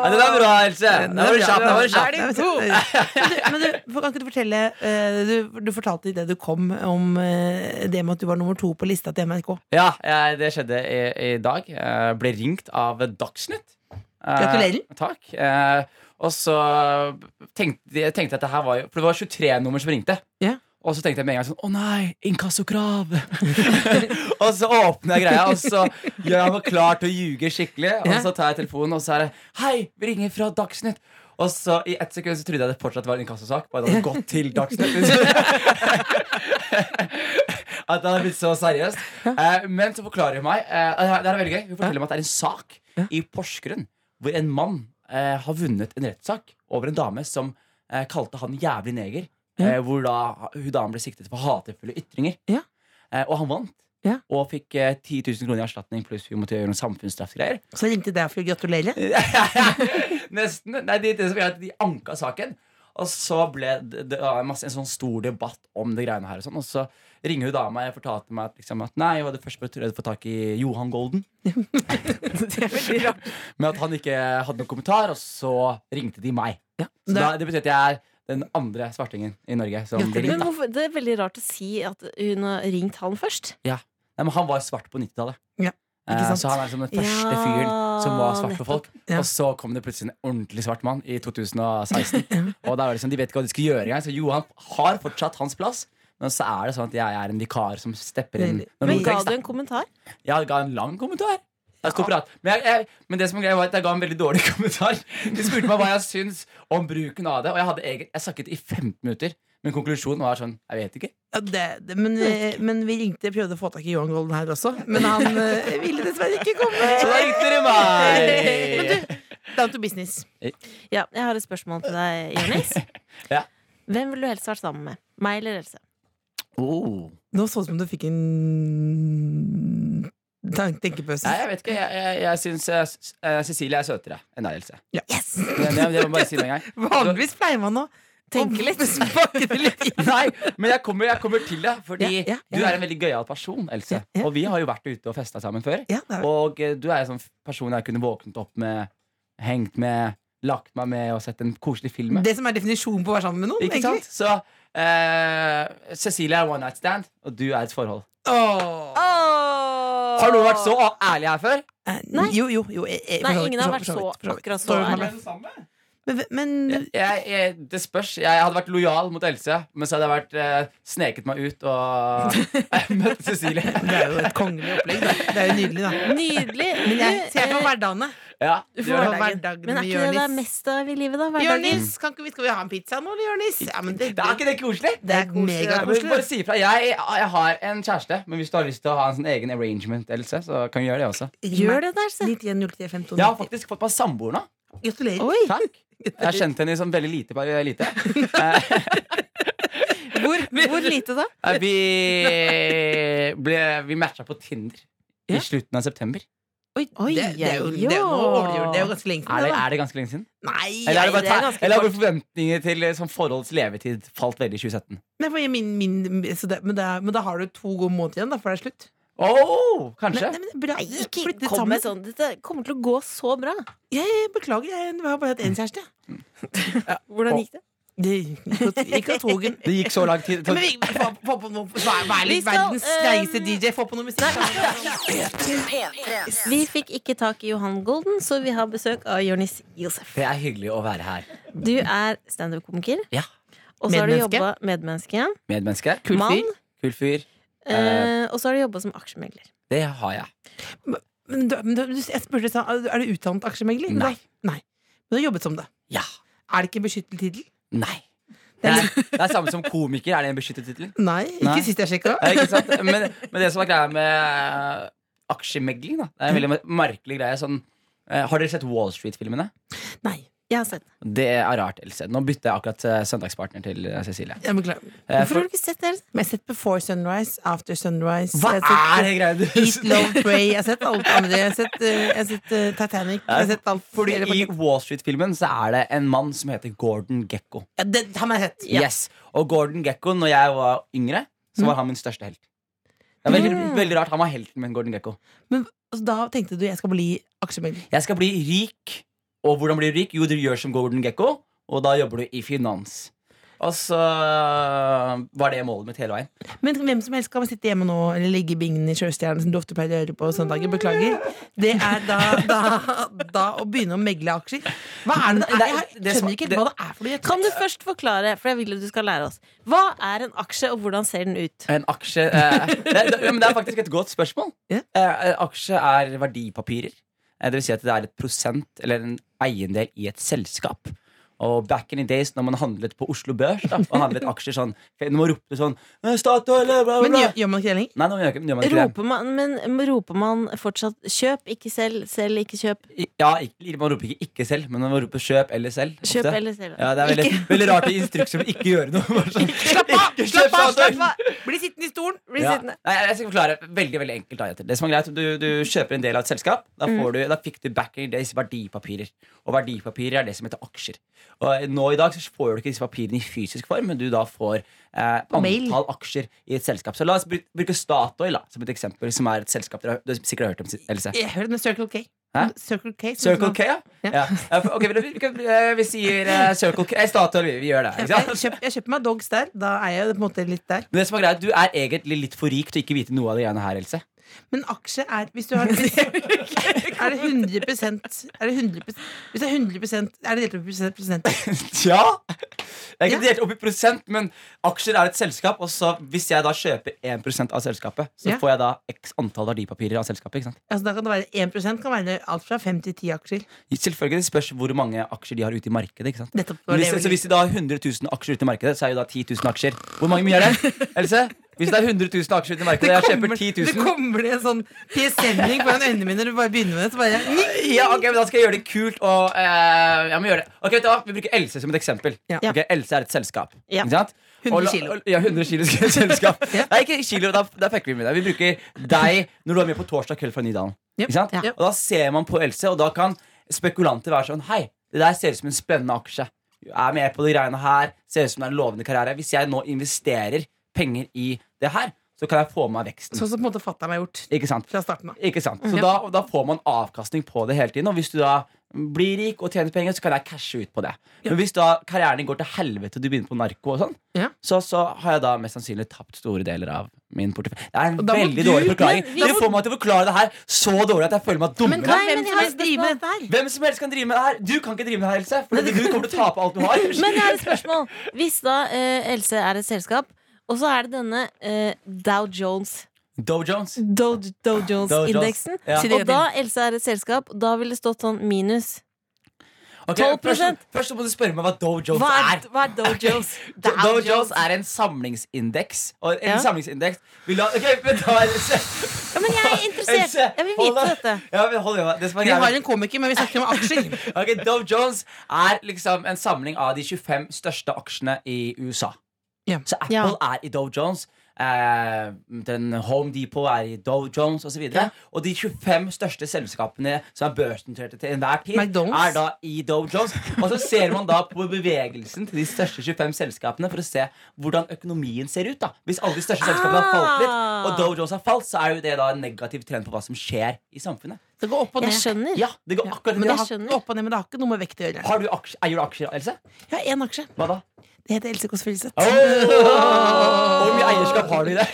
Speaker 6: Ja, det er bra, Else! Da var du kjapp. Da var du kjapp.
Speaker 4: Men, du, men du, kan ikke du fortelle eh, du, du fortalte idet du kom, om eh, det med at du var nummer to på lista til NRK.
Speaker 6: Ja, eh, det skjedde i, i dag. Eh, ble ringt av Dagsnytt. Eh,
Speaker 4: Gratulerer.
Speaker 6: Takk. Eh, og så tenkte jeg tenkte at det her var jo For det var 23 nummer som ringte.
Speaker 4: Ja.
Speaker 6: Og så tenkte jeg med en gang sånn Å nei, inkassokrav! og så åpner jeg greia, og så gjør jeg meg klar til å ljuge skikkelig. Og
Speaker 4: Ja.
Speaker 6: så tar jeg telefonen, og så er det Hei, vi ringer fra Dagsnytt! Og så i ett sekund så trodde jeg det fortsatt var en inkassosak. Bare det hadde gått til Dagsnytt. liksom. At det hadde blitt så seriøst. Eh, men så forklarer hun meg eh, det her- det her er veldig gøy. Hun forteller meg at det er en sak i Porsgrunn hvor en mann eh, har vunnet en rettssak over en dame som eh, kalte han jævlig neger. Eh, hvor da hun damen ble siktet for hatefulle ytringer.
Speaker 4: Ja.
Speaker 6: Eh, og han vant.
Speaker 4: Ja.
Speaker 6: Og fikk eh, 10 000 kroner i erstatning, pluss hun måtte gjøre noen samfunnsstraffgreier.
Speaker 4: Så ringte jeg for å gratulere.
Speaker 6: Nesten. Nei, det, det som er at de anka saken. Og så ble det, det var en masse, en sånn stor debatt om det greiene her. Og, sånn. og så ringer hun dama og fortalte meg at, liksom, at nei, hun hadde først prøvd å få tak i Johan Golden. Men at han ikke hadde noen kommentar, og så ringte de meg. Så da, det betyr at jeg er den andre svartingen i Norge som blir
Speaker 3: Men
Speaker 6: ringt. da.
Speaker 3: hvorfor, det er veldig rart å si at hun har ringt han først.
Speaker 6: Nei, men han var svart på 90-tallet.
Speaker 4: Ja,
Speaker 6: Eh,
Speaker 4: ikke sant?
Speaker 6: Så han er liksom den første
Speaker 3: Ja,
Speaker 6: fyren som var svart på folk.
Speaker 4: Ja.
Speaker 6: Og så kom det plutselig en ordentlig svart mann i 2016. og da er det liksom, De vet ikke hva de skal gjøre engang. Så Johan har fortsatt hans plass. Men så er det sånn at jeg er en vikar som stepper inn. når
Speaker 3: Men
Speaker 6: noen
Speaker 3: ga
Speaker 6: trengs,
Speaker 3: du
Speaker 6: da.
Speaker 3: en kommentar?
Speaker 6: Jeg ga en lang kommentar. Jeg sto og prat. Men, jeg, jeg, men det som er greia var at jeg ga en veldig dårlig kommentar. De spurte meg hva jeg syns om bruken av det, og jeg, hadde egen, jeg snakket i 15 minutter. Men konklusjonen var sånn Jeg vet ikke.
Speaker 4: Ja, det, det, men, eh, men vi ringte prøvde å få tak i Johan Golden her også, men han eh, ville dessverre ikke
Speaker 6: Så da
Speaker 4: komme.
Speaker 6: ringte dere meg!
Speaker 4: Men du, down to business.
Speaker 3: Ja, jeg har et spørsmål til deg, Jonis.
Speaker 6: Ja.
Speaker 3: Hvem ville du helst vært sammen med? Meg eller Else?
Speaker 6: Oh.
Speaker 4: Nå så det ut som du fikk en tank- tenkepause.
Speaker 6: Nei, jeg vet ikke. Jeg, jeg, jeg syns eh, s- eh, Cecilie er søtere enn deg, Else.
Speaker 4: Ja.
Speaker 6: Det, det, det må jeg bare si med en gang.
Speaker 4: Vanligvis pleier man å tenke litt. Smakke det litt inn.
Speaker 6: Nei, men jeg kommer, jeg kommer til det, fordi
Speaker 4: Ja, ja, ja.
Speaker 6: du er en veldig gøyal person, Else.
Speaker 4: Ja, ja.
Speaker 6: Og vi har jo vært ute og festa sammen før.
Speaker 4: Ja, det er det.
Speaker 6: Og eh, du er en sånn person jeg kunne våknet opp med, hengt med, lagt meg med og sett en koselig film med.
Speaker 4: det som er definisjonen på å være sammen med noen.
Speaker 6: Ikke sant? Så eh, Cecilie er one night stand, og du er et forhold.
Speaker 4: Åh.
Speaker 3: Ah,
Speaker 6: Har noen vært så ærlig her før?
Speaker 4: Eh,
Speaker 3: Nei.
Speaker 4: Jo, jo, jo. jeg- jeg-
Speaker 3: Nei,
Speaker 4: for vidt,
Speaker 3: ingen har vært
Speaker 4: for vidt,
Speaker 3: så-
Speaker 4: for vidt.
Speaker 3: akkurat så
Speaker 4: For vidt,
Speaker 3: ærlig.
Speaker 4: Marlene. Men, men
Speaker 6: Jeg, jeg, det spørs. Jeg hadde vært lojal mot Else, men så hadde jeg vært, eh, sneket meg ut og eh, møtt
Speaker 4: det
Speaker 6: Cecilie.
Speaker 4: er jo et kongelig opplegg. Da. Det er jo nydelig, da.
Speaker 3: Nydelig.
Speaker 4: Men jeg ser for
Speaker 3: Eh,
Speaker 4: hverdagene.
Speaker 6: Ja,
Speaker 3: du
Speaker 6: du
Speaker 3: får
Speaker 6: gjør det.
Speaker 3: hverdagen.
Speaker 4: hverdagen.
Speaker 3: Men er
Speaker 4: med
Speaker 3: ikke det det er
Speaker 4: Jonis.
Speaker 3: mest av i livet, da? Hverdagen?
Speaker 4: Jonis, kan ikke vi, skal vi ha en pizza nå, eller, Jonis? Ja, men det,
Speaker 6: Det er ikke det koselig?
Speaker 4: det er
Speaker 6: Ja, men
Speaker 4: megakoselig.
Speaker 6: Bare si ifra. Jeg, jeg har en kjæreste, men hvis du har lyst til å ha en sånn egen arrangement, Else, så kan vi gjøre det også.
Speaker 3: Gjør det altså? der, se.
Speaker 4: 91 03 15
Speaker 6: Jeg har faktisk fått meg samboer nå.
Speaker 4: Gratulerer.
Speaker 3: Oi!
Speaker 6: Takk. Jeg kjente henne i sånn veldig lite. Bare lite. Eh,
Speaker 3: Hvor, hvor lite da?
Speaker 6: Vi, ble, vi matcha på Tinder
Speaker 4: Ja.
Speaker 6: i slutten av september.
Speaker 4: Oi,
Speaker 3: Oi,
Speaker 4: det, det, er jo,
Speaker 3: ja.
Speaker 4: det, er jo, nå overdriver- det er jo ganske lenge
Speaker 6: Er det,
Speaker 4: da.
Speaker 6: er det ganske lenge siden?
Speaker 4: Nei,
Speaker 6: Eller, er
Speaker 3: Nei,
Speaker 6: det bare,
Speaker 3: det er
Speaker 6: ta-
Speaker 3: ganske
Speaker 6: eller har
Speaker 3: kort.
Speaker 6: våre forventninger til eh, sånn forholds levetid falt veldig i 2017?
Speaker 4: Nei, for jeg- min, min, så det, men, det er, men da har du to gode måneder igjen, da, for det er slutt.
Speaker 6: Oh, kanskje?
Speaker 4: Nei, men det er bra.
Speaker 3: Nei, ikke
Speaker 4: Flyttet
Speaker 3: kom
Speaker 4: sammen.
Speaker 3: med sånn. Dette kommer til å gå så bra.
Speaker 4: Jeg beklager, jeg har bare hatt én kjæreste.
Speaker 3: Hvordan gikk det?
Speaker 4: Det gikk av togen.
Speaker 6: Det gikk så lang tid.
Speaker 4: Men vi, få, få på noe, vær, vær
Speaker 3: Vi
Speaker 4: litt
Speaker 3: skal,
Speaker 4: verdens
Speaker 3: eh,
Speaker 4: greieste DJ. Få på noe musikk.
Speaker 3: Vi fikk ikke tak i Johan Golden, så vi har besøk av Jonis Josef.
Speaker 6: Det er hyggelig å være her.
Speaker 3: Du er standup-komiker,
Speaker 6: Ja.
Speaker 3: og så har du
Speaker 4: Medmenneske.
Speaker 3: jobba medmenneske.
Speaker 6: Medmenneske.
Speaker 4: Kul fyr.
Speaker 3: Mann.
Speaker 6: Kul fyr.
Speaker 3: Eh, og så har du jobba som aksjemegler.
Speaker 6: Det har jeg.
Speaker 4: Men du, men du, jeg spurte deg, sånn, er du utdannet aksjemegler?
Speaker 6: Nei.
Speaker 4: Nei. Men du har jobbet som det.
Speaker 6: Ja.
Speaker 4: Er det ikke en beskyttet tittel?
Speaker 6: Nei. Det er, det er samme som komiker. Er det en beskyttet tittel?
Speaker 4: Nei, ikke
Speaker 6: Nei.
Speaker 4: sist jeg sjekka.
Speaker 6: Eh, Ikke sant? Men, men det som er greia med eh, aksjemegling, da Det er en veldig mer- merkelig greie. Sånn, eh, har dere sett Wall Street-filmene?
Speaker 4: Nei.
Speaker 3: Jeg har sett den.
Speaker 6: Det er rart, Else. Nå bytter jeg akkurat eh, søndagspartner til eh, Cecilie.
Speaker 4: Jeg beklager.
Speaker 6: Eh,
Speaker 3: Hvorfor
Speaker 6: for,
Speaker 3: har du ikke sett den?
Speaker 4: Men jeg har sett Before Sunrise, After Sunrise
Speaker 6: hva
Speaker 4: jeg
Speaker 6: er
Speaker 4: har
Speaker 6: det
Speaker 4: sett
Speaker 6: greia du
Speaker 4: Eat, Love, Pray Jeg har sett alt andre. Jeg har sett, eh, jeg har sett eh, Titanic. Jeg har sett alt
Speaker 6: Fordi
Speaker 4: hele
Speaker 6: I
Speaker 4: pakken.
Speaker 6: Wall Street-filmen så er det en mann som heter Gordon Gekko.
Speaker 4: ja, Det har jeg sett.
Speaker 6: Yes. Og Gordon Gekko, når jeg var yngre, så var han min største helt. Det er veldig, veldig rart, Han var helten min, Gordon Gekko.
Speaker 4: Men altså, da tenkte du jeg skal bli aksjemegler.
Speaker 6: Jeg skal bli rik. Og hvordan blir du rik? Jo, du gjør som Gordon Gekko, og da jobber du i finans. Og så øh, var det målet mitt hele veien.
Speaker 4: Men hvem som helst kan sitte hjemme nå eller ligge i bingen i Sjøstjernen, som du ofte pleier å gjøre på søndager. Beklager. Det er da, da, da å begynne å megle aksjer. Hva er det det er? Jeg skjønner ikke helt hva det er for noe.
Speaker 3: Kan du først forklare, for jeg vil jo du skal lære oss. Hva er en aksje, og hvordan ser den ut?
Speaker 6: En aksje eh, det, det, ja, men det er faktisk et godt spørsmål.
Speaker 4: Ja.
Speaker 6: Eh, en aksje er verdipapirer. Eh, det vil si at det er et prosent eller en eiendel i et selskap. Og back in the days når man handlet på Oslo Børs da, og handlet aksjer sånn Når man ropte sånn «Eh, Statoil, bla, bla,
Speaker 4: Men
Speaker 6: bla.
Speaker 4: gjør, gjør man ikke det lenger?
Speaker 6: Nei, nå gjør, ikke- gjør man ikke det.
Speaker 3: Roper man, men roper man fortsatt 'kjøp, ikke selg', 'selg, ikke kjøp'?
Speaker 6: I- Ja, ikke, man roper ikke 'ikke selv', men man roper 'kjøp' eller 'selv'.
Speaker 3: Kjøp
Speaker 6: ofte.
Speaker 3: eller selg.
Speaker 6: Ja, det er veldig,
Speaker 3: Ikke-
Speaker 6: veldig rart i instrukser om ikke gjøre noe. Bare sånn,
Speaker 4: Slapp av!
Speaker 6: ikke kjøp
Speaker 4: Slapp av!
Speaker 6: Statoil.
Speaker 4: Slapp av! Bli sittende i stolen! Bli
Speaker 6: Ja.
Speaker 4: sittende.
Speaker 6: Nei, jeg skal forklare veldig veldig enkelt. Da, Jenter. det som er greit, du, du kjøper en del av et selskap. Da,
Speaker 4: Mm.
Speaker 6: får du, da fikk du back in days verdipapirer. Og verdipapirer er det som heter aksjer. Og nå i dag så får du ikke disse papirene i fysisk form, men du da får eh,
Speaker 4: mail.
Speaker 6: antall aksjer i et selskap. Så la oss bru- bruke Statoil da, som et eksempel, som er et selskap dere har- du sikkert har hørt om. Else.
Speaker 4: Jeg hørte med Circle K.
Speaker 6: Hæ?
Speaker 4: Circle K, som-
Speaker 6: Circle K, ja?
Speaker 4: Ja.
Speaker 6: ja. ja. for- Ok, vi, vi, vi- vi sier eh, Circle K. eh, Statoil, vi, vi gjør det.
Speaker 4: Jeg,
Speaker 6: Ikke sant?
Speaker 4: kjøp, jeg kjøper meg dogs der. Da er jeg på en måte litt der.
Speaker 6: Men det som er greit, Du er egentlig litt for rik til å ikke vite noe av det greiene her, Else.
Speaker 4: Men aksje er Hvis du har Er det 100 Er det 100 Hvis det er 100 Er det delt opp i prosent- prosent?
Speaker 6: Tja Det er ikke
Speaker 4: Ja.
Speaker 6: delt opp i prosent, men aksjer er et selskap. Og så hvis jeg da kjøper 1 av selskapet, så
Speaker 4: Ja.
Speaker 6: får jeg da x antall verdipapirer av selskapet. ikke sant?
Speaker 4: Altså, da kan det være 1 kan være alt fra 5 til 10 aksjer.
Speaker 6: Selvfølgelig det spørs hvor mange aksjer de har ute i markedet. ikke sant?
Speaker 4: Nettopp det var
Speaker 6: Hvis,
Speaker 4: det jeg
Speaker 6: så
Speaker 4: ville-
Speaker 6: hvis de da har 100 000 aksjer ute i markedet, så er jo da 10 000 aksjer. Hvor mange mye er det? Else? Hvis det er 100 000 aksjer ute i markedet, og jeg
Speaker 4: kommer-
Speaker 6: kjøper 10
Speaker 4: det
Speaker 6: 000
Speaker 4: kommer det en sånn presenning foran øynene mine når du bare begynner med det. Så bare
Speaker 6: ja, ok, men Da skal jeg gjøre det kult. Og, eh, jeg må gjøre det. Ok, vet du hva? Vi bruker Else som et eksempel.
Speaker 4: Ja.
Speaker 6: Ok, Else er et selskap.
Speaker 3: Ja.
Speaker 6: Ikke sant?
Speaker 4: 100
Speaker 6: Og la-
Speaker 4: kilo.
Speaker 6: Ja, 100 kilo skal et selskap.
Speaker 4: Ja.
Speaker 6: Nei, ikke kilo, da, da fucker vi med deg. Vi bruker deg når du er med på torsdag kveld fra Nydalen.
Speaker 4: Yep.
Speaker 6: Ikke sant?
Speaker 4: Ja.
Speaker 6: Og da ser man på Else, og da kan spekulanter være sånn Hei, det der ser ut som en spennende aksje. Jeg er med på de greiene her. Ser ut som det er en lovende karriere. Hvis jeg nå investerer penger i det her, så kan jeg få med meg veksten.
Speaker 4: Sånn som på en måte fatter'n har gjort
Speaker 6: Ikke sant?
Speaker 4: fra starten av.
Speaker 6: Ikke sant? Så da, da får man avkastning på det hele tiden. Og hvis du da blir rik og tjener penger, så kan jeg cashe ut på det. Men hvis da karrieren din går til helvete, og du begynner på narko og sånn,
Speaker 4: Ja.
Speaker 6: så, så har jeg da mest sannsynlig tapt store deler av min portefølje. Det er en
Speaker 4: da må
Speaker 6: veldig
Speaker 4: du-
Speaker 6: dårlig forklaring.
Speaker 3: Men-
Speaker 6: Dere får meg til å forklare det her så dårlig at jeg føler meg dummere.
Speaker 4: Men kan
Speaker 3: Nei, men
Speaker 4: hvem
Speaker 3: jeg
Speaker 4: som
Speaker 3: har
Speaker 4: helst drive med
Speaker 3: spørsmål.
Speaker 4: dette her?
Speaker 6: Hvem som helst kan drive med det her. Du kan ikke drive med det her, Else. Fordi du kommer til å tape alt du har.
Speaker 3: Men jeg har et spørsmål. Hvis da eh, Else er et selskap, og så er det denne eh, Dow Jones.
Speaker 6: Doe Jones.
Speaker 3: Dow, Dow
Speaker 6: Dow Jones.
Speaker 3: Jones-indeksen.
Speaker 6: Ja.
Speaker 3: Og da Else er et selskap, da ville det stått sånn minus.
Speaker 6: Ok,
Speaker 3: 12%.
Speaker 6: først, først så må du spørre meg hva Doe Jones
Speaker 3: Hva
Speaker 6: er.
Speaker 3: er, hva er Dow Jones?
Speaker 6: Dow Jones. er en samlingsindeks. Og en
Speaker 3: Ja.
Speaker 6: samlingsindeks vil ha Ok, vent da, Else.
Speaker 3: Ja, men jeg er interessert.
Speaker 6: Else,
Speaker 3: Jeg vil
Speaker 6: hold
Speaker 3: vite
Speaker 6: da.
Speaker 3: dette.
Speaker 6: Ja, men hold igjen. Det som er
Speaker 4: Vi har
Speaker 6: greia
Speaker 4: en komiker, men vi snakker om aksjer.
Speaker 6: Ok, Dow Jones er liksom en samling av de 25 største aksjene i USA.
Speaker 4: Ja.
Speaker 6: Så Apple
Speaker 3: Ja.
Speaker 6: er i Dow Jones. Eh, den Home Depot er i Dow Jones osv. Og, så videre. og de 25 største selskapene som er børsnoterte til enhver tid,
Speaker 4: McDonald's.
Speaker 6: er da i Dow Jones. Og så ser man da på bevegelsen til de største 25 selskapene for å se hvordan økonomien ser ut. da Hvis alle de største selskapene har falt litt, og Dow Jones har falt, så er jo det da en negativ trend på hva som skjer i samfunnet.
Speaker 4: Det går opp og ned.
Speaker 3: Jeg skjønner.
Speaker 6: Ja, det går akkurat
Speaker 4: Men det
Speaker 3: Jeg
Speaker 4: har,
Speaker 3: skjønner.
Speaker 4: opp og ned, men det har ikke noe med vekt å gjøre.
Speaker 6: har du aksje, Eier du aksjer, Else?
Speaker 4: Jeg har én aksje.
Speaker 6: Hva da?
Speaker 4: Det heter Else Kåss Furuseth.
Speaker 6: Åh! Hvor mye eierskap har du i det?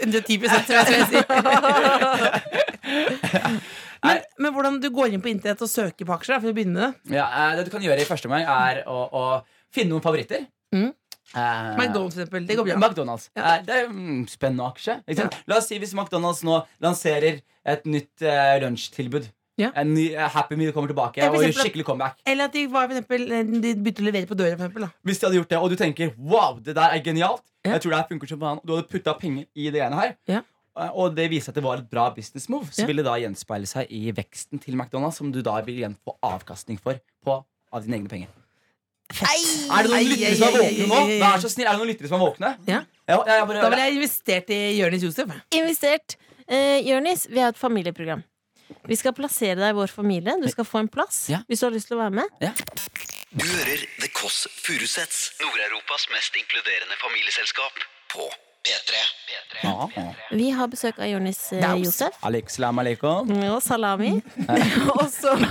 Speaker 4: 110 tror jeg skal jeg si. Men, men hvordan du går inn på internett og søker på aksjer? da, For å begynne med det
Speaker 6: Ja, eh, det du kan gjøre i første omgang, er å, å finne noen favoritter.
Speaker 4: Mm.
Speaker 6: Eh,
Speaker 4: McDonald's, for eksempel. Det går bra.
Speaker 6: McDonald's. Eh, det er mm, spennende aksje. ikke sant? La oss si hvis McDonald's nå lanserer et nytt eh, lunsjtilbud.
Speaker 4: Ja.
Speaker 6: En ny eh, Happy Meal kommer tilbake
Speaker 4: Ja, for
Speaker 6: og gjør
Speaker 4: eksempel-
Speaker 6: skikkelig comeback.
Speaker 4: Eller at de, var, for eksempel, eh, de begynte å levere på døra. For eksempel, da.
Speaker 6: Hvis de hadde gjort det, og du tenker wow, det der er genialt,
Speaker 4: Ja.
Speaker 6: jeg tror det her funker som faen, og du hadde putta penger i det ene her,
Speaker 4: Ja.
Speaker 6: eh, og det viser at det var et bra business move, så
Speaker 4: Ja.
Speaker 6: vil det da gjenspeile seg i veksten til McDonald's, som du da vil igjen få avkastning for på av dine egne penger.
Speaker 4: Fett.
Speaker 6: Er det noen
Speaker 4: Ai,
Speaker 6: lyttere
Speaker 4: ai,
Speaker 6: som er
Speaker 4: ai,
Speaker 6: våkne nå?
Speaker 4: ai, ai, ai.
Speaker 6: Vær så snill, er det noen lyttere som er våkne?
Speaker 4: Ja.
Speaker 6: Ja, jeg, jeg bare,
Speaker 4: Da ville jeg investert i Jonis Josef. jeg.
Speaker 3: Investert. Eh, Jørnis, vi har et familieprogram. Vi skal plassere deg i vår familie. Du skal få en plass
Speaker 6: Ja.
Speaker 3: hvis du har lyst til å være med.
Speaker 2: Du hører The Kåss Furuseths, Nord-Europas mest inkluderende familieselskap, på P3.
Speaker 6: Ja.
Speaker 3: Vi har besøk av Jørnis eh,
Speaker 4: Daus.
Speaker 3: Josef.
Speaker 6: Aleik, salam aleikum.
Speaker 3: Og salami. Og så
Speaker 4: Du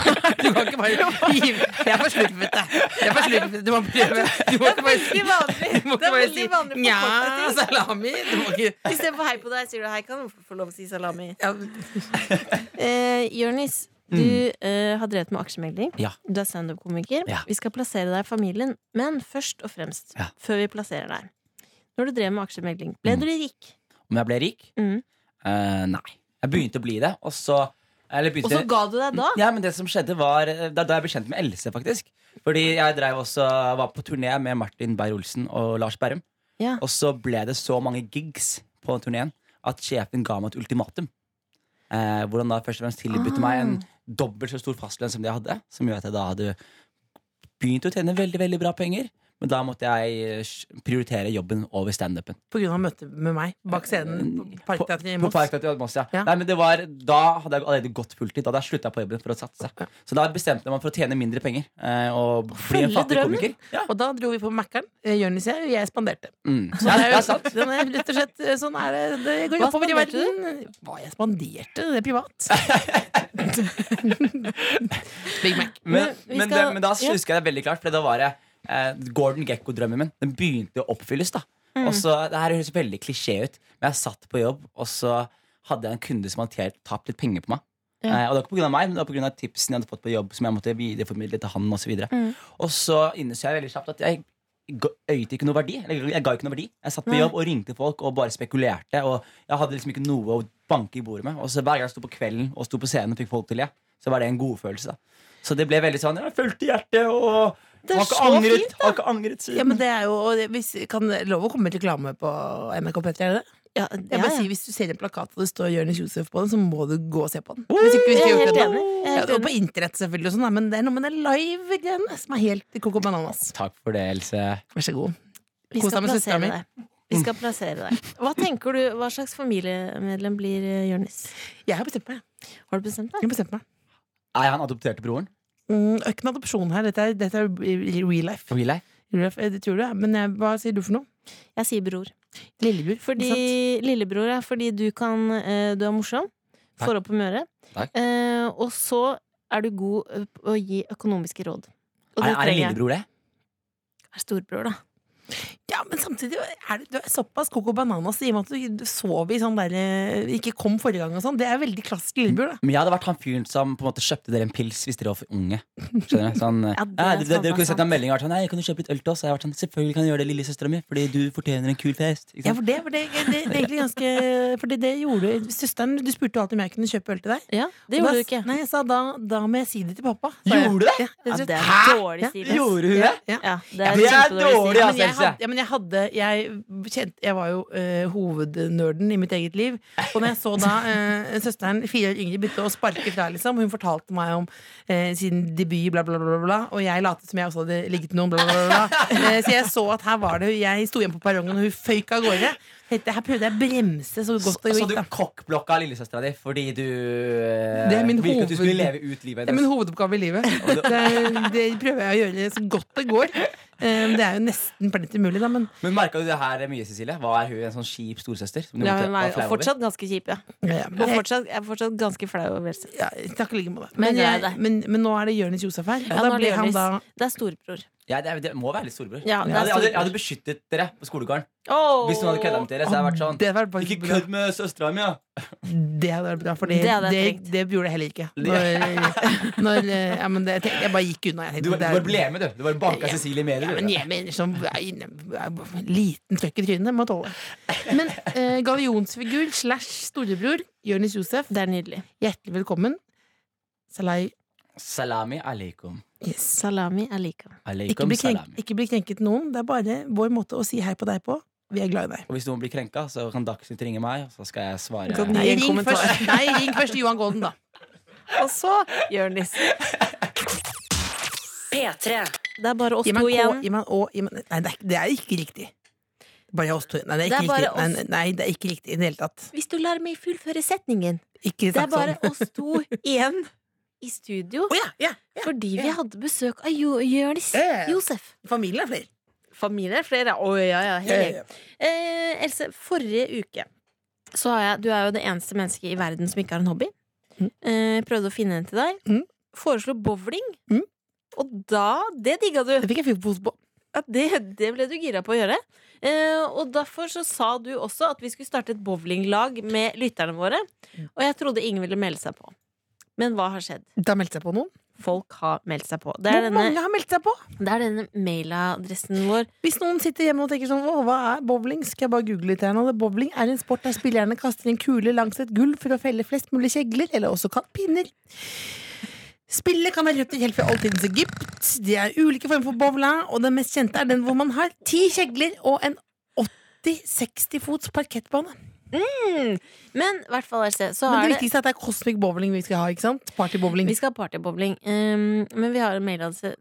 Speaker 4: kan ikke bare hive Jeg er for slurvete. Jeg er for slurvete. Du må prøve. Du må ikke bare si
Speaker 3: Veldig vanlig.
Speaker 4: Du må
Speaker 3: Det er
Speaker 4: ikke bare
Speaker 3: veldig
Speaker 4: si
Speaker 3: vanlig for
Speaker 4: nja,
Speaker 3: folk å si.
Speaker 4: salami. Du må ikke
Speaker 3: Istedenfor hei på deg, sier du hei. Kan du få lov å si salami?
Speaker 4: ja.
Speaker 3: Eh, Jørnis, du eh, har drevet med aksjemegling.
Speaker 6: Mm. Ja.
Speaker 3: Du er standup-komiker.
Speaker 6: Ja.
Speaker 3: Vi skal plassere deg i familien, men først og fremst,
Speaker 6: Ja.
Speaker 3: før vi plasserer deg Når du drev med aksjemegling, ble
Speaker 6: Mm.
Speaker 3: du rik?
Speaker 6: Om jeg ble rik?
Speaker 3: Mm.
Speaker 6: Eh, nei. Jeg begynte å bli det, og så Eller
Speaker 3: Og
Speaker 6: begynte
Speaker 3: så ga du deg da?
Speaker 6: Ja, men det som skjedde var eh, Da, da jeg ble kjent med Else, faktisk. Fordi jeg drev også, var på turné med Martin Beyer-Olsen og Lars Berrum.
Speaker 3: Ja.
Speaker 6: Og så ble det så mange gigs på turneen at sjefen ga meg et ultimatum. Eh, hvor han da først og fremst tilbød
Speaker 3: Ah.
Speaker 6: meg en dobbelt så stor fastlønn som det jeg hadde. Som gjør at jeg da hadde begynt å tjene veldig veldig bra penger. Men da måtte jeg eh, s- prioritere jobben over standupen.
Speaker 4: På grunn av møtet med meg bak scenen på Parkteatret i
Speaker 6: På- på
Speaker 4: Moss.
Speaker 6: Parkteatret i Moss, ja.
Speaker 4: Ja.
Speaker 6: Nei, men det var, da hadde jeg allerede gått fulltid. Da hadde jeg slutta på jobben for å satse. Så da bestemte man for å tjene mindre penger eh, og bli en
Speaker 3: følge
Speaker 6: fattig
Speaker 3: drømmen.
Speaker 6: komiker. Ja.
Speaker 4: Og da dro vi på Mækkern. eh, Jonis og jeg, og jeg spanderte.
Speaker 6: Mm.
Speaker 4: Så
Speaker 6: Ja,
Speaker 4: det er
Speaker 6: det
Speaker 4: jo
Speaker 6: er sant.
Speaker 4: Den er rett og slett eh, sånn er det. Det går
Speaker 3: Hva
Speaker 4: oppover i
Speaker 3: spanderte
Speaker 4: verden. Hva jeg spanderte? Det er privat. Big Mac.
Speaker 6: Men,
Speaker 3: Men vi
Speaker 6: men,
Speaker 3: skal-
Speaker 6: det, men da
Speaker 3: ja.
Speaker 6: husker jeg det veldig klart, for da var det eh, Gordon Gekko-drømmen min. Den begynte å oppfylles, da. Og så, Det her høres veldig klisjé ut, men jeg satt på jobb, og så hadde jeg en kunde som hadde tjent- tapt litt penger på meg.
Speaker 3: Ja.
Speaker 6: Eh, og det var ikke på grunn av meg, men det var på grunn av tipsen jeg hadde fått på jobb, som jeg måtte videreformidle til han, og så videre.
Speaker 3: Mm.
Speaker 6: Og så innså jeg veldig kjapt at jeg ga- øyte ikke noe verdi. Eller jeg ga ikke noe verdi. Jeg satt på
Speaker 3: Nei.
Speaker 6: jobb og ringte folk og bare spekulerte, og jeg hadde liksom ikke noe å banke i bordet med. Og så hver gang jeg sto på kvelden og sto på scenen og fikk folk til å le, så var det en godfølelse, da. Så det ble veldig sånn Jeg fulgte hjertet og
Speaker 3: Det er
Speaker 6: har ikke
Speaker 3: så
Speaker 6: angret,
Speaker 3: fint,
Speaker 6: har ikke angret siden.
Speaker 4: Ja, men det er jo og det- hvis, Kan det lov å komme med reklame på NRK P3? Er det? det?
Speaker 3: Ja,
Speaker 4: Jeg
Speaker 3: ja,
Speaker 4: bare
Speaker 3: ja.
Speaker 4: sier, Hvis du ser en plakat og det står Jonis Josef på den, så må du gå og se på den.
Speaker 6: Woo!
Speaker 4: Hvis ikke hvis
Speaker 3: Jeg
Speaker 4: du
Speaker 3: er
Speaker 4: gjort
Speaker 3: helt
Speaker 4: det
Speaker 3: enig. Jeg er
Speaker 4: nå. Ja,
Speaker 3: helt
Speaker 4: og på
Speaker 3: enig.
Speaker 4: internett, selvfølgelig, og sånn, da, men det er noe med det live-greiene som er helt coco bananas.
Speaker 6: Takk for det, Else.
Speaker 4: Vær så god.
Speaker 3: Vi
Speaker 4: Kos
Speaker 3: skal
Speaker 4: deg med
Speaker 3: plassere
Speaker 4: søstera mi.
Speaker 3: deg. Vi skal plassere deg. Hva tenker du, hva slags familiemedlem blir eh, Jonis?
Speaker 4: Jeg har bestemt meg.
Speaker 3: Har du bestemt
Speaker 4: Jeg
Speaker 3: deg?
Speaker 4: har bestemt meg.
Speaker 6: Er han adopterte broren?
Speaker 4: Mm, det er ikke en adopsjon her. Dette er, dette er real life.
Speaker 6: Real life?
Speaker 4: Real life eh, det tror du, ja. men jeg, hva sier du for noe?
Speaker 3: Jeg sier bror.
Speaker 4: Lillebjørn.
Speaker 3: Fordi, lillebror, ja, fordi du kan eh, Du er morsom.
Speaker 6: Takk.
Speaker 3: Får opp humøret.
Speaker 6: Takk.
Speaker 3: Eh, og så er du god eh, på å gi økonomiske råd. Og
Speaker 6: Er,
Speaker 3: det
Speaker 6: er det
Speaker 3: trenger jeg.
Speaker 6: lillebror, det?
Speaker 3: Er Storbror, da.
Speaker 4: Ja, men samtidig er det, du er såpass coco bananas i og med at du sov i sånn der eh, Ikke kom forrige gang og sånn. Det er veldig klassisk Lillebjørn, da.
Speaker 6: Men jeg hadde vært han fyren som på en måte kjøpte dere en pils hvis dere var for unge. Skjønner du? Sånn,
Speaker 3: Ja,
Speaker 6: ja,
Speaker 3: det er faen
Speaker 6: dere, dere,
Speaker 3: meg
Speaker 6: kunne sett
Speaker 3: sant.
Speaker 6: en melding og vært sånn Hei, kan du kjøpe litt øl til oss? Og jeg har vært sånn, Selvfølgelig kan jeg gjøre det, lillesøstera mi, fordi du fortjener en kul fest. Ikke
Speaker 4: Ja,
Speaker 6: sant?
Speaker 4: for det, for det, det, det er egentlig ganske Fordi det gjorde Søsteren, du spurte alltid om jeg kunne kjøpe øl til deg.
Speaker 3: Ja, det
Speaker 4: Og
Speaker 3: gjorde
Speaker 4: da-
Speaker 3: du ikke.
Speaker 4: Nei, jeg sa da, da må jeg si det til pappa. sa jeg.
Speaker 6: Gjorde du det?
Speaker 4: Ja,
Speaker 3: Ja, det
Speaker 4: jeg,
Speaker 3: er dårlig stil. ass. Ja, det
Speaker 4: tror- Ja.
Speaker 6: Gjorde hun det? Det er
Speaker 3: kjempedårlig stil.
Speaker 6: dårlig,
Speaker 4: Ja,
Speaker 6: ass.
Speaker 4: men altså. jeg
Speaker 6: Else.
Speaker 4: hadde, ja, men jeg, hadde jeg, kjente, jeg var jo eh, hovednerden i mitt eget liv. Og når jeg så da eh, søsteren fire år yngre begynte å sparke fra, liksom, hun fortalte meg om eh, sin debut, bla, bla, bla, bla, bla, og jeg lot som jeg også hadde ligget med noen, bla, bla, bla. bla. Eh, så jeg så at her var det Jeg sto igjen på perrongen, og hun føyk av gårde. Tenkte, her prøvde jeg å bremse så godt det
Speaker 6: Så
Speaker 4: gikk.
Speaker 6: du
Speaker 4: Da.
Speaker 6: kokkblokka lillesøstera di fordi du eh,
Speaker 4: Det er min
Speaker 6: ville ikke at du
Speaker 4: hoved-
Speaker 6: skulle leve ut livet
Speaker 4: Det er min hovedoppgave i livet. Det, det prøver jeg å gjøre så godt det går. Eh, det er jo nesten plent umulig, da, men
Speaker 6: Men merka du det her mye, Cecilie? Var hun en sånn kjip storesøster? som du
Speaker 3: Ja,
Speaker 6: måtte-
Speaker 3: hun
Speaker 6: var
Speaker 3: er
Speaker 6: flau
Speaker 3: og
Speaker 6: over?
Speaker 3: fortsatt ganske kjip, ja.
Speaker 4: ja,
Speaker 3: Og fortsatt, jeg er fortsatt ganske flau over det.
Speaker 4: Ja, takk i like måte.
Speaker 3: Men
Speaker 4: Men,
Speaker 3: gleder
Speaker 4: jeg-
Speaker 3: deg.
Speaker 4: men, men nå er det Jonis Josef her.
Speaker 3: Ja,
Speaker 4: og
Speaker 3: nå
Speaker 4: da
Speaker 3: er det
Speaker 4: blir han
Speaker 3: Jonis.
Speaker 4: da
Speaker 3: Det er storebror.
Speaker 6: Ja, det, er- det må være litt storebror.
Speaker 3: Ja, det er
Speaker 6: jeg, hadde, jeg, hadde, jeg
Speaker 3: storebror.
Speaker 6: hadde beskyttet dere på skolegården.
Speaker 3: Åh!
Speaker 6: Hvis noen hadde kødda med dere. Så hadde jeg vært sånn
Speaker 4: det hadde vært faktisk
Speaker 6: Ikke
Speaker 4: bra.
Speaker 6: kødd med søstera mi, ja!
Speaker 4: Det hadde vært bra, for det,
Speaker 3: Det hadde
Speaker 4: det,
Speaker 3: jeg
Speaker 4: det,
Speaker 3: trengt.
Speaker 4: gjorde jeg heller ikke. Når, når, eh, ja, men det, jeg, tenkte- jeg bare gikk unna. Jeg, tenkte,
Speaker 6: Du, du
Speaker 4: det er-
Speaker 6: bare ble med, du. Du bare banka Cecilie med
Speaker 4: ja,
Speaker 6: deg.
Speaker 4: men
Speaker 6: du.
Speaker 4: jeg mener sånn jeg, jeg- Liten trøkk i trynet må tåle. Men eh, gavionsfigur slash storebror Jonis Josef,
Speaker 3: Det er nydelig.
Speaker 4: hjertelig velkommen. Salai.
Speaker 6: Salami aleikum.
Speaker 4: Yes.
Speaker 3: Salami er like.
Speaker 4: Ikke
Speaker 6: Aleikum
Speaker 4: bli, krenk,
Speaker 6: salami.
Speaker 4: ikke bli krenket noen. Det er bare vår måte å si hei på deg på. Vi er glad i deg.
Speaker 6: Og hvis noen blir krenka, så kan Dagsnytt ringe meg, og så skal jeg svare.
Speaker 3: Kan-
Speaker 4: Nei,
Speaker 3: Gi en
Speaker 4: ring
Speaker 3: kommentar.
Speaker 4: først, nei, ring først Johan Golden, da.
Speaker 3: Og så Jonis.
Speaker 1: P3.
Speaker 3: Det er bare oss
Speaker 4: Gi meg
Speaker 3: to
Speaker 4: en K,
Speaker 3: igjen.
Speaker 4: gi meg en Å gi meg, Nei, det er, ikke- det er ikke riktig. Bare oss to. Nei, det er
Speaker 3: Det
Speaker 4: ikke
Speaker 3: er bare
Speaker 4: riktig. Nei,
Speaker 3: oss.
Speaker 4: nei, nei, det er ikke riktig i det hele tatt.
Speaker 3: Hvis du lar meg fullføre setningen.
Speaker 4: Ikke
Speaker 3: Det er
Speaker 4: sagt
Speaker 3: bare
Speaker 4: sånn.
Speaker 3: oss to igjen i studio
Speaker 4: Å ja, ja, ja.
Speaker 3: fordi vi hadde besøk av jo Jonis
Speaker 4: Ja, ja.
Speaker 3: Josef.
Speaker 4: Familien er flere.
Speaker 3: Familie er flere. Å ja, ja. hele gjengen. Eh, Else, forrige uke så har jeg Du er jo det eneste mennesket i verden som ikke har en hobby.
Speaker 4: Mm.
Speaker 3: Eh, prøvde å finne en til deg.
Speaker 4: Mm.
Speaker 3: Foreslo bowling.
Speaker 4: Mm.
Speaker 3: Og da Det digga du!
Speaker 4: Det fikk jeg fyr på.
Speaker 3: Ja, det, det ble du gira på å gjøre. Eh, og derfor så sa du også at vi skulle starte et bowlinglag med lytterne våre.
Speaker 4: Mm.
Speaker 3: Og jeg trodde ingen ville melde seg på. Men hva har skjedd?
Speaker 4: Det har meldt seg på noen.
Speaker 3: Folk har meldt seg på. Det
Speaker 4: Hvor
Speaker 3: er denne,
Speaker 4: mange har meldt seg på?
Speaker 3: det er denne mailadressen vår.
Speaker 4: Hvis noen sitter hjemme og tenker sånn Åh, hva er bowling? Skal jeg bare google litt her nå? Det- Bowling er en sport der spillerne kaster en kule langs et gulv for å felle flest mulig kjegler, eller også kan pinner. Spillet kan være røpt helt fra oldtidens Egypt. Det er ulike former for bowla, og den mest kjente er den hvor man har ti kjegler og en 80-60 fots parkettbane.
Speaker 3: Men i hvert fall, Else, så
Speaker 4: Mm. Men
Speaker 3: er det
Speaker 4: det viktigste er at det er cosmic bowling vi skal ha, ikke sant? Party bowling.
Speaker 3: Vi skal ha partybowling. Um, men vi har en mailadresse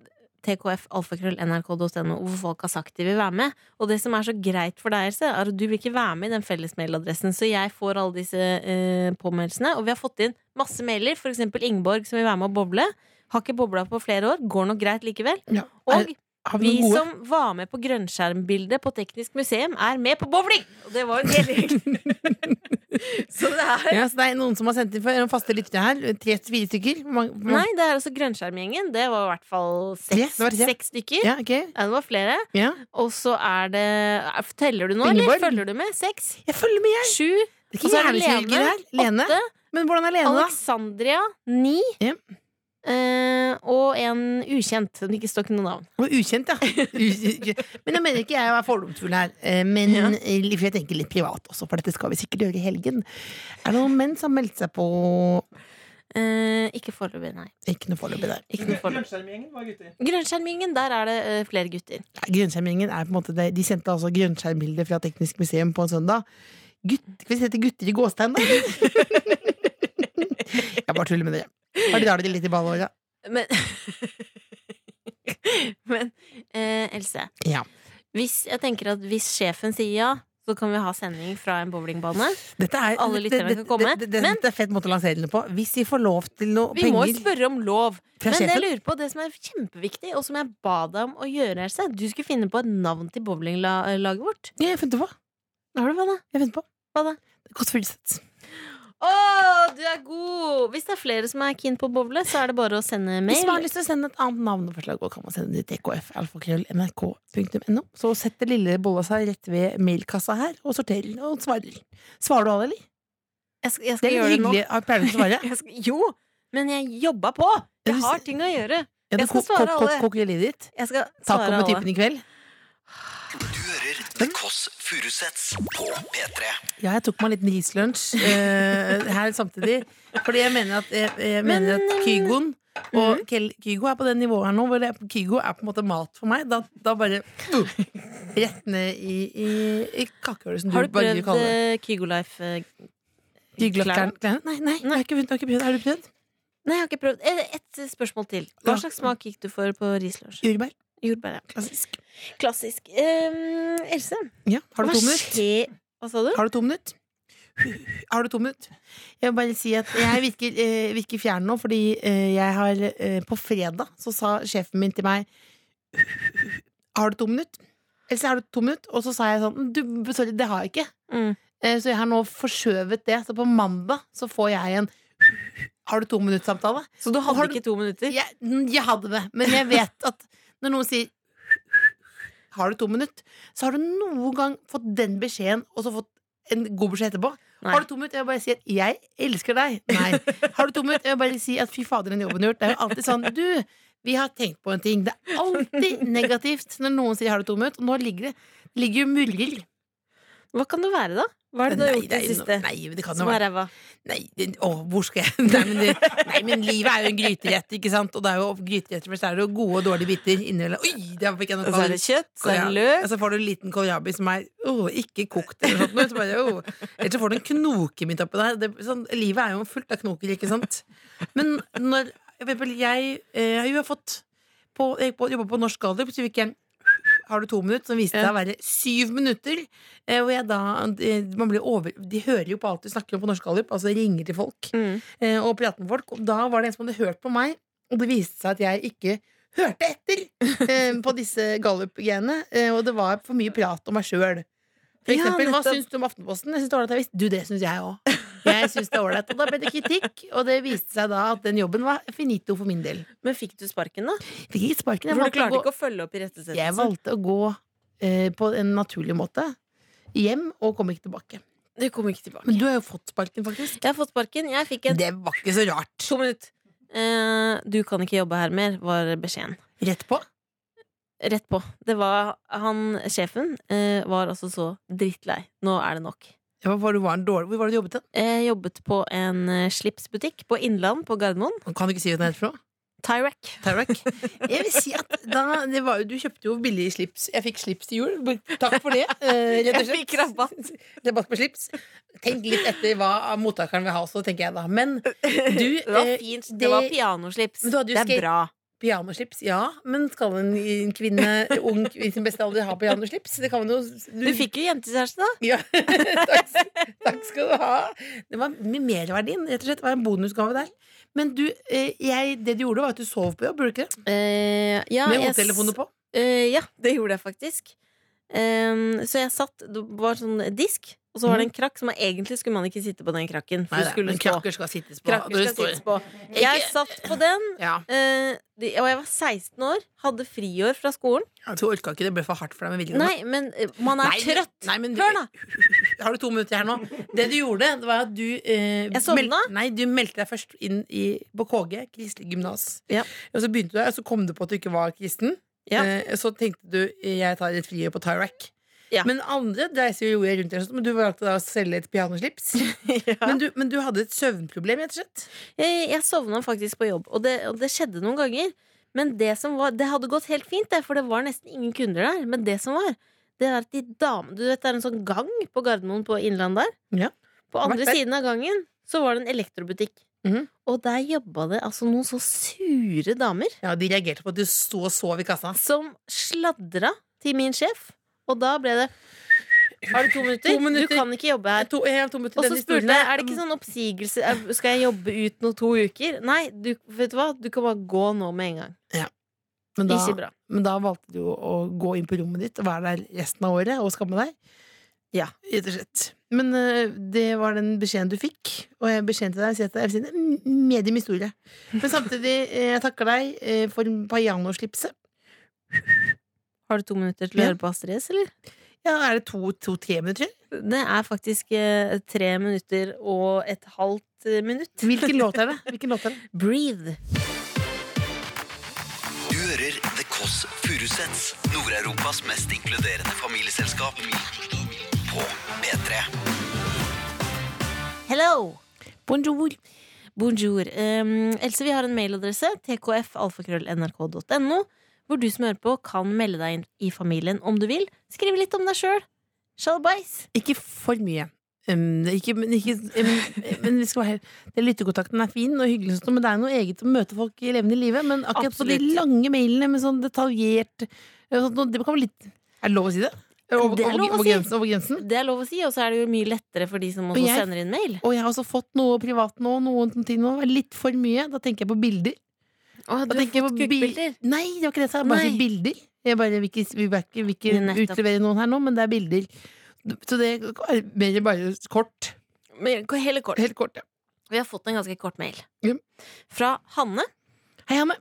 Speaker 3: tkfalfakrøllnrk.no hvor folk har sagt de vil være med. Og det som er så greit for deg, Else, er at du vil ikke være med i den felles mailadressen. Så jeg får alle disse eh, påmeldelsene. Og vi har fått inn masse mailer, f.eks. Ingeborg som vil være med og boble. Har ikke bobla på flere år. Går nok greit likevel.
Speaker 4: Ja. Er-
Speaker 3: Og
Speaker 4: har
Speaker 3: vi
Speaker 4: vi noen gode?
Speaker 3: som var med på grønnskjermbildet på Teknisk museum, er med på bowling! Og det var jo en hel gjeng. Så det er
Speaker 4: Ja, så det er noen som har sendt inn for noen faste lyttere her. Tre-fire stykker. Hvor mange- hvor mange-
Speaker 3: Nei, det er altså Grønnskjermgjengen. Det var i hvert fall
Speaker 4: Tre,
Speaker 3: seks,
Speaker 4: det var tre.
Speaker 3: seks stykker.
Speaker 4: Ja, ok.
Speaker 3: Ja, det var flere.
Speaker 4: Ja.
Speaker 3: Og så er det er- Teller du nå,
Speaker 4: Ingeborg?
Speaker 3: eller følger du med? Seks?
Speaker 4: Jeg følger med, jeg.
Speaker 3: Sju?
Speaker 4: Det
Speaker 3: Og
Speaker 4: er
Speaker 3: så
Speaker 4: ikke
Speaker 3: er det
Speaker 4: hjernekirurger
Speaker 3: Lene.
Speaker 4: her. Lene.
Speaker 3: Åtte?
Speaker 4: Men hvordan er Lene, da?
Speaker 3: Alexandria? Ni?
Speaker 4: Ja.
Speaker 3: Eh, og en ukjent. som Det ikke står ikke noe navn.
Speaker 4: Og ukjent, ja. U- men jeg mener ikke jeg er fordomsfull her. eh, Men
Speaker 3: Ja.
Speaker 4: eh, for jeg tenker litt privat også, for dette skal vi sikkert gjøre i helgen. Er det noen menn som har meldt seg på
Speaker 3: Eh, ikke foreløpig, nei.
Speaker 4: Ikke noe foreløpig der.
Speaker 3: Ikke noe foreløpig.
Speaker 6: Grønnskjermgjengen var gutter.
Speaker 3: Grønnskjermgjengen, der er det eh, flere gutter.
Speaker 4: Ja, Grønnskjermgjengen er på en måte det. De sendte altså grønnskjermbilder fra Teknisk museum på en søndag. Gutt, skal vi sette gutter i gåstein, da? jeg bare tuller med dere. Bare drar dere litt i ballhåret.
Speaker 3: Men, Men eh, Else,
Speaker 4: Ja.
Speaker 3: hvis, jeg tenker at hvis sjefen sier ja, så kan vi ha sending fra en bowlingbane.
Speaker 4: Dette er,
Speaker 3: Alle lytterne
Speaker 4: det- det-
Speaker 3: kan komme,
Speaker 4: det- det-
Speaker 3: men-
Speaker 4: Dette er fett måte å lansere den på. Hvis vi får lov til noe
Speaker 3: Vi
Speaker 4: penger
Speaker 3: må jo spørre om lov.
Speaker 4: fra
Speaker 3: Men
Speaker 4: sjefen
Speaker 3: jeg lurer på det som er kjempeviktig, og som jeg ba deg om å gjøre, Else. Du skulle finne på et navn til bowlinglaget vårt.
Speaker 4: Ja, jeg fant det på.
Speaker 3: Har du hva da?
Speaker 4: Jeg fant på.
Speaker 3: Hva da?
Speaker 4: Det koster fullsett.
Speaker 3: Å, du er god! Hvis det er flere som er keen på å bowle, så er det bare å sende
Speaker 4: Hvis
Speaker 3: mail.
Speaker 4: man har lyst til å sende et annet navneforslag, og kan man sende det til tkf.nrk.no. Så setter lille bolla seg rett ved mailkassa her, og sorterer og svarer. Svarer du alle, eller?
Speaker 3: Jeg skal, jeg
Speaker 4: Det
Speaker 3: skal
Speaker 4: er litt
Speaker 3: gjøre det nå.
Speaker 4: hyggelig. Jeg pleier du å svare?
Speaker 3: Jeg skal, jo, men jeg jobba på!
Speaker 4: Ja,
Speaker 3: Jeg
Speaker 4: du-
Speaker 3: har ting å gjøre.
Speaker 4: Ja,
Speaker 3: Jeg
Speaker 4: det
Speaker 3: skal
Speaker 4: kok-
Speaker 3: svare
Speaker 4: kok-
Speaker 3: alle.
Speaker 4: kok- koker livet ditt.
Speaker 3: Jeg skal
Speaker 4: Taco
Speaker 3: svare
Speaker 4: med
Speaker 3: alle.
Speaker 4: typen i kveld.
Speaker 2: Du hører The Kåss Furuseths på P3.
Speaker 4: Ja, jeg tok meg en liten rislunsj eh, her samtidig. Fordi jeg mener at, jeg, jeg mener
Speaker 3: eh,
Speaker 4: at Kygoen og
Speaker 3: mm.
Speaker 4: Kel, Kygo er på det nivået her nå hvor det, Kygo er på en måte mat for meg. Da, da bare boom, rett ned i, i, i kakehullet, som
Speaker 3: Har
Speaker 4: du,
Speaker 3: du
Speaker 4: bare
Speaker 3: prøvd
Speaker 4: kaller det.
Speaker 3: eh, Kygo Life? eh,
Speaker 4: Kygoklærne? Klærne? Nei, nei, Jeg har ikke, begynt- jeg har ikke prøvd. Har du prøvd?
Speaker 3: Nei, jeg har ikke prøvd. Eh, Et spørsmål til. Hva
Speaker 4: Ja.
Speaker 3: slags smak gikk du for på rislunsj?
Speaker 4: Jordbær.
Speaker 3: Jordbær, ja.
Speaker 4: Klassisk.
Speaker 3: Klassisk. Ehm, Else,
Speaker 4: Ja. Har du
Speaker 3: hva
Speaker 4: to minutter?
Speaker 3: skjer Hva sa du?
Speaker 4: Har du to minutter? Har du to minutter? Jeg vil bare si at jeg virker, eh, virker fjern nå, fordi eh, jeg har eh, På fredag så sa sjefen min til meg Har du to minutter? Else, har du to minutter? Og så sa jeg sånn du, Sorry, det har jeg ikke.
Speaker 3: Mm.
Speaker 4: Eh, så jeg har nå forskjøvet det. Så på mandag så får jeg en Har du to minutter-samtale.
Speaker 3: Så du hadde
Speaker 4: Har du-
Speaker 3: ikke to minutter?
Speaker 4: Jeg, mm, jeg hadde det, men jeg vet at når noen sier Har du to minutter? Så har du noen gang fått den beskjeden, og så fått en god beskjed etterpå.
Speaker 3: Nei.
Speaker 4: Har du to minutter? Jeg vil bare si at jeg elsker deg. Nei. Har du to minutter? Jeg vil bare si at fy fader, den jobben du har gjort. Det er jo alltid sånn Du, vi har tenkt på en ting. Det er alltid negativt når noen sier har du to minutter. Og nå ligger det ligger jo murrer.
Speaker 3: Hva kan det være, da? Hva er det du har
Speaker 4: Nei,
Speaker 3: gjort i det
Speaker 4: er-
Speaker 3: siste?
Speaker 4: Nei, men det kan jo
Speaker 3: Som
Speaker 4: være
Speaker 3: er ræva.
Speaker 4: Nei, det, å, hvor skal jeg nei men, det, nei, men livet er jo en gryterett, ikke sant? Og det er jo gryterett, men så er det jo gode og dårlige biter innimellom. Oi, der fikk jeg noe
Speaker 3: Og så er det kjøtt, så er det
Speaker 4: kål-
Speaker 3: løk.
Speaker 4: Og så Altså, får du en liten kålrabi som er åh, ikke kokt eller noe sånt. Bare, åh. Eller så får du en knoke midt oppi der. Det, sånn, livet er jo fullt av knoker, ikke sant? Men når for eksempel, jeg, eh, har jo fått på, jeg gikk på, jobbet på Norsk Gallup, så fikk jeg en har du to minutter, som viste seg å være syv minutter. eh, Hvor jeg da, eh, man blir over, de hører jo på alt du snakker om på Norsk Gallup, altså ringer til folk
Speaker 3: Mm.
Speaker 4: eh, og prater med folk. Og da var det en som hadde hørt på meg, og det viste seg at jeg ikke hørte etter eh, på disse gallup-greiene. Eh, og det var for mye prat om meg sjøl. For
Speaker 3: Ja,
Speaker 4: eksempel, hva
Speaker 3: nettopp.
Speaker 4: syns du om Aftenposten? Jeg synes det var ålreit. Jeg visste- Du, det syns jeg òg. Jeg synes det er ålreit. Og da ble det kritikk, og det viste seg da at den jobben var finito for min del.
Speaker 3: Men fikk du sparken, da?
Speaker 4: Fikk ikke sparken. Jeg
Speaker 3: For du
Speaker 4: valgte å
Speaker 3: klarte
Speaker 4: gå-
Speaker 3: ikke å følge opp i
Speaker 4: jeg
Speaker 3: rettesettelsen.
Speaker 4: valgte å gå eh, på en naturlig måte hjem og kom ikke tilbake.
Speaker 3: Du kom ikke tilbake.
Speaker 4: Men du har jo fått sparken, faktisk.
Speaker 3: Jeg har fått sparken. Jeg fikk en
Speaker 4: Det var ikke så rart.
Speaker 3: to minutt. Eh, du kan ikke jobbe her mer, var beskjeden.
Speaker 4: Rett på.
Speaker 3: Rett på. Det var han sjefen eh, var altså så drittlei. Nå er det nok.
Speaker 4: Ja, var du var en dårlig. Hvor var det du jobbet hen?
Speaker 3: Jeg jobbet på en eh, slipsbutikk på Innland på Gardermoen.
Speaker 4: Kan du ikke si hva den heter for noe?
Speaker 3: Tyrac.
Speaker 4: Tarek? Jeg vil si at da, det var, jo- Du kjøpte jo billig slips. Jeg fikk slips til jul. Takk for det. eh, rett og
Speaker 3: Jeg
Speaker 4: slett.
Speaker 3: fikk rabatt.
Speaker 4: Rabatt på slips. Tenk litt etter hva mottakeren vil ha også, tenker jeg da. Men du,
Speaker 3: Det var
Speaker 4: eh,
Speaker 3: fint. Det,
Speaker 4: det-
Speaker 3: var pianoslips.
Speaker 4: Men du hadde jo
Speaker 3: det er
Speaker 4: skate-
Speaker 3: bra.
Speaker 4: pyjamaslips, ja. Men skal en, en kvinne, ung i sin beste alder, ha pyjamaslips? Det kan man jo
Speaker 3: Du fikk jo jentekjæreste, da.
Speaker 4: Ja, takk, takk skal du ha. Det var med merverdien, rett og slett. Det var en bonusgave der. Men du, eh, jeg, det du gjorde, var at du sov på jobb, burde du ikke det?
Speaker 3: Eh, ja,
Speaker 4: Med
Speaker 3: jeg s-
Speaker 4: hodetelefoner på.
Speaker 3: Eh, ja, det gjorde jeg faktisk. Ehm, så jeg satt Det var sånn disk, og så var det en krakk som egentlig skulle man ikke sitte på den krakken. For
Speaker 4: Mhm. Nei,
Speaker 3: du
Speaker 4: nei,
Speaker 3: skulle
Speaker 4: men
Speaker 3: stå.
Speaker 4: krakker skal sittes på.
Speaker 3: Krakker
Speaker 4: Det
Speaker 3: skal
Speaker 4: står-
Speaker 3: sittes på. Jeg satt på den,
Speaker 4: Ja,
Speaker 3: eh, de- og jeg var 16 år, hadde friår fra skolen.
Speaker 4: Du orka ikke, det ble for hardt for deg med viljen.
Speaker 3: Nei, men eh, man er
Speaker 4: Nei, men-
Speaker 3: trøtt.
Speaker 4: nei, men du-
Speaker 3: Hør, da!
Speaker 4: Har du to minutter her nå? Det du gjorde, det var at du eh,
Speaker 3: Jeg sovna.
Speaker 4: meld- Nei, du meldte deg først inn i, på KG, kristelig gymnas.
Speaker 3: Ja.
Speaker 4: Og så begynte du der, og så kom du på at du ikke var kristen.
Speaker 3: Ja.
Speaker 4: Eh, så tenkte du eh, jeg tar et friår på Tyrac.
Speaker 3: Ja.
Speaker 4: Men andre dreiser jo gjorde rundt der, men du valgte da å selge et pianoslips. men, du, men du hadde et søvnproblem, rett og slett.
Speaker 3: Jeg, jeg sovna faktisk på jobb, og det, og det skjedde noen ganger. Men det som var, det hadde gått helt fint, det, for det var nesten ingen kunder der. Men det som var, det er at de damene Du vet det er en sånn gang på Gardermoen på Innland der.
Speaker 4: Ja.
Speaker 3: På andre
Speaker 4: Vært der.
Speaker 3: siden av gangen så var det en elektrobutikk.
Speaker 4: Mhm.
Speaker 3: Og der jobba det altså noen så sure damer
Speaker 4: Ja, De reagerte på at du sto og sov i kassa.
Speaker 3: som sladra til min sjef. Og da ble det Har du to minutter?
Speaker 4: To minutter.
Speaker 3: Du kan ikke jobbe her.
Speaker 4: To, jeg har to minutter
Speaker 3: Og
Speaker 4: til
Speaker 3: så
Speaker 4: den
Speaker 3: spurte
Speaker 4: historien
Speaker 3: jeg
Speaker 4: her.
Speaker 3: er det ikke sånn oppsigelse er- Skal jeg jobbe ut noe to uker? Nei, du, vet du hva? Du kan bare gå nå med en gang.
Speaker 4: men da,
Speaker 3: sånn Ikke bra.
Speaker 4: men da valgte du å gå inn på rommet ditt og være der resten av året og skamme deg.
Speaker 3: Ja.
Speaker 4: Rett og slett. Men eh, det var den beskjeden du fikk, og jeg beskjeden til deg sier at det er sin m- medium historie. Men samtidig, eh, jeg takker deg eh, for pajanoslipset.
Speaker 3: Har du to minutter til å
Speaker 4: Ja.
Speaker 3: høre på Astrid S, eller?
Speaker 4: Ja, er det to-tre minutter?
Speaker 3: Det er faktisk eh, tre minutter og et halvt eh, minutt.
Speaker 4: Hvilken låt er det? Hvilken låt er det?
Speaker 3: Breathe.
Speaker 2: Du hører The Kåss Furuseths, Nord-Europas mest inkluderende familieselskap. På P3.
Speaker 3: Hello!
Speaker 4: Bonjour.
Speaker 3: Bonjour. Um, Else, vi har en mailadresse, tkfalfakrøllnrk.no, hvor du som hører på, kan melde deg inn i familien om du vil. Skriv litt om deg sjøl. Sjalbais.
Speaker 4: Ikke for mye. Um, det er ikke, men ikke, um, men vi skal være helt- den lytterkontakten er fin og hyggelig, og sånt, men det er noe eget å møte folk i levende livet. Men akkurat på de
Speaker 3: Absolutt.
Speaker 4: lange mailene med sånn detaljert eh, sånt noe, Det kan være litt Er det lov å si det? Over,
Speaker 3: Det er lov å
Speaker 4: over, over
Speaker 3: si.
Speaker 4: grensen? Over grensen?
Speaker 3: Det er lov å si, og så er det jo mye lettere for de som også
Speaker 4: Og jeg-
Speaker 3: sender inn mail.
Speaker 4: Og jeg har også fått noe privat nå, noen ting nå. Litt for mye. Da tenker jeg på bilder.
Speaker 3: Å,
Speaker 4: Da
Speaker 3: du har
Speaker 4: tenker jeg
Speaker 3: fått
Speaker 4: på bil-
Speaker 3: kukkbilder.
Speaker 4: Nei, det var ikke det jeg sa. Jeg Bare
Speaker 3: Nei.
Speaker 4: sier bilder. Jeg bare vil ikke, vil ikke, vil ikke
Speaker 3: Nettopp.
Speaker 4: utlevere noen her nå, men det er bilder. Så det er mer bare kort.
Speaker 3: Men Hele kort.
Speaker 4: Helt kort, ja.
Speaker 3: Vi har fått en ganske kort mail.
Speaker 4: Ja.
Speaker 3: Fra Hanne.
Speaker 4: Hei, Hanne.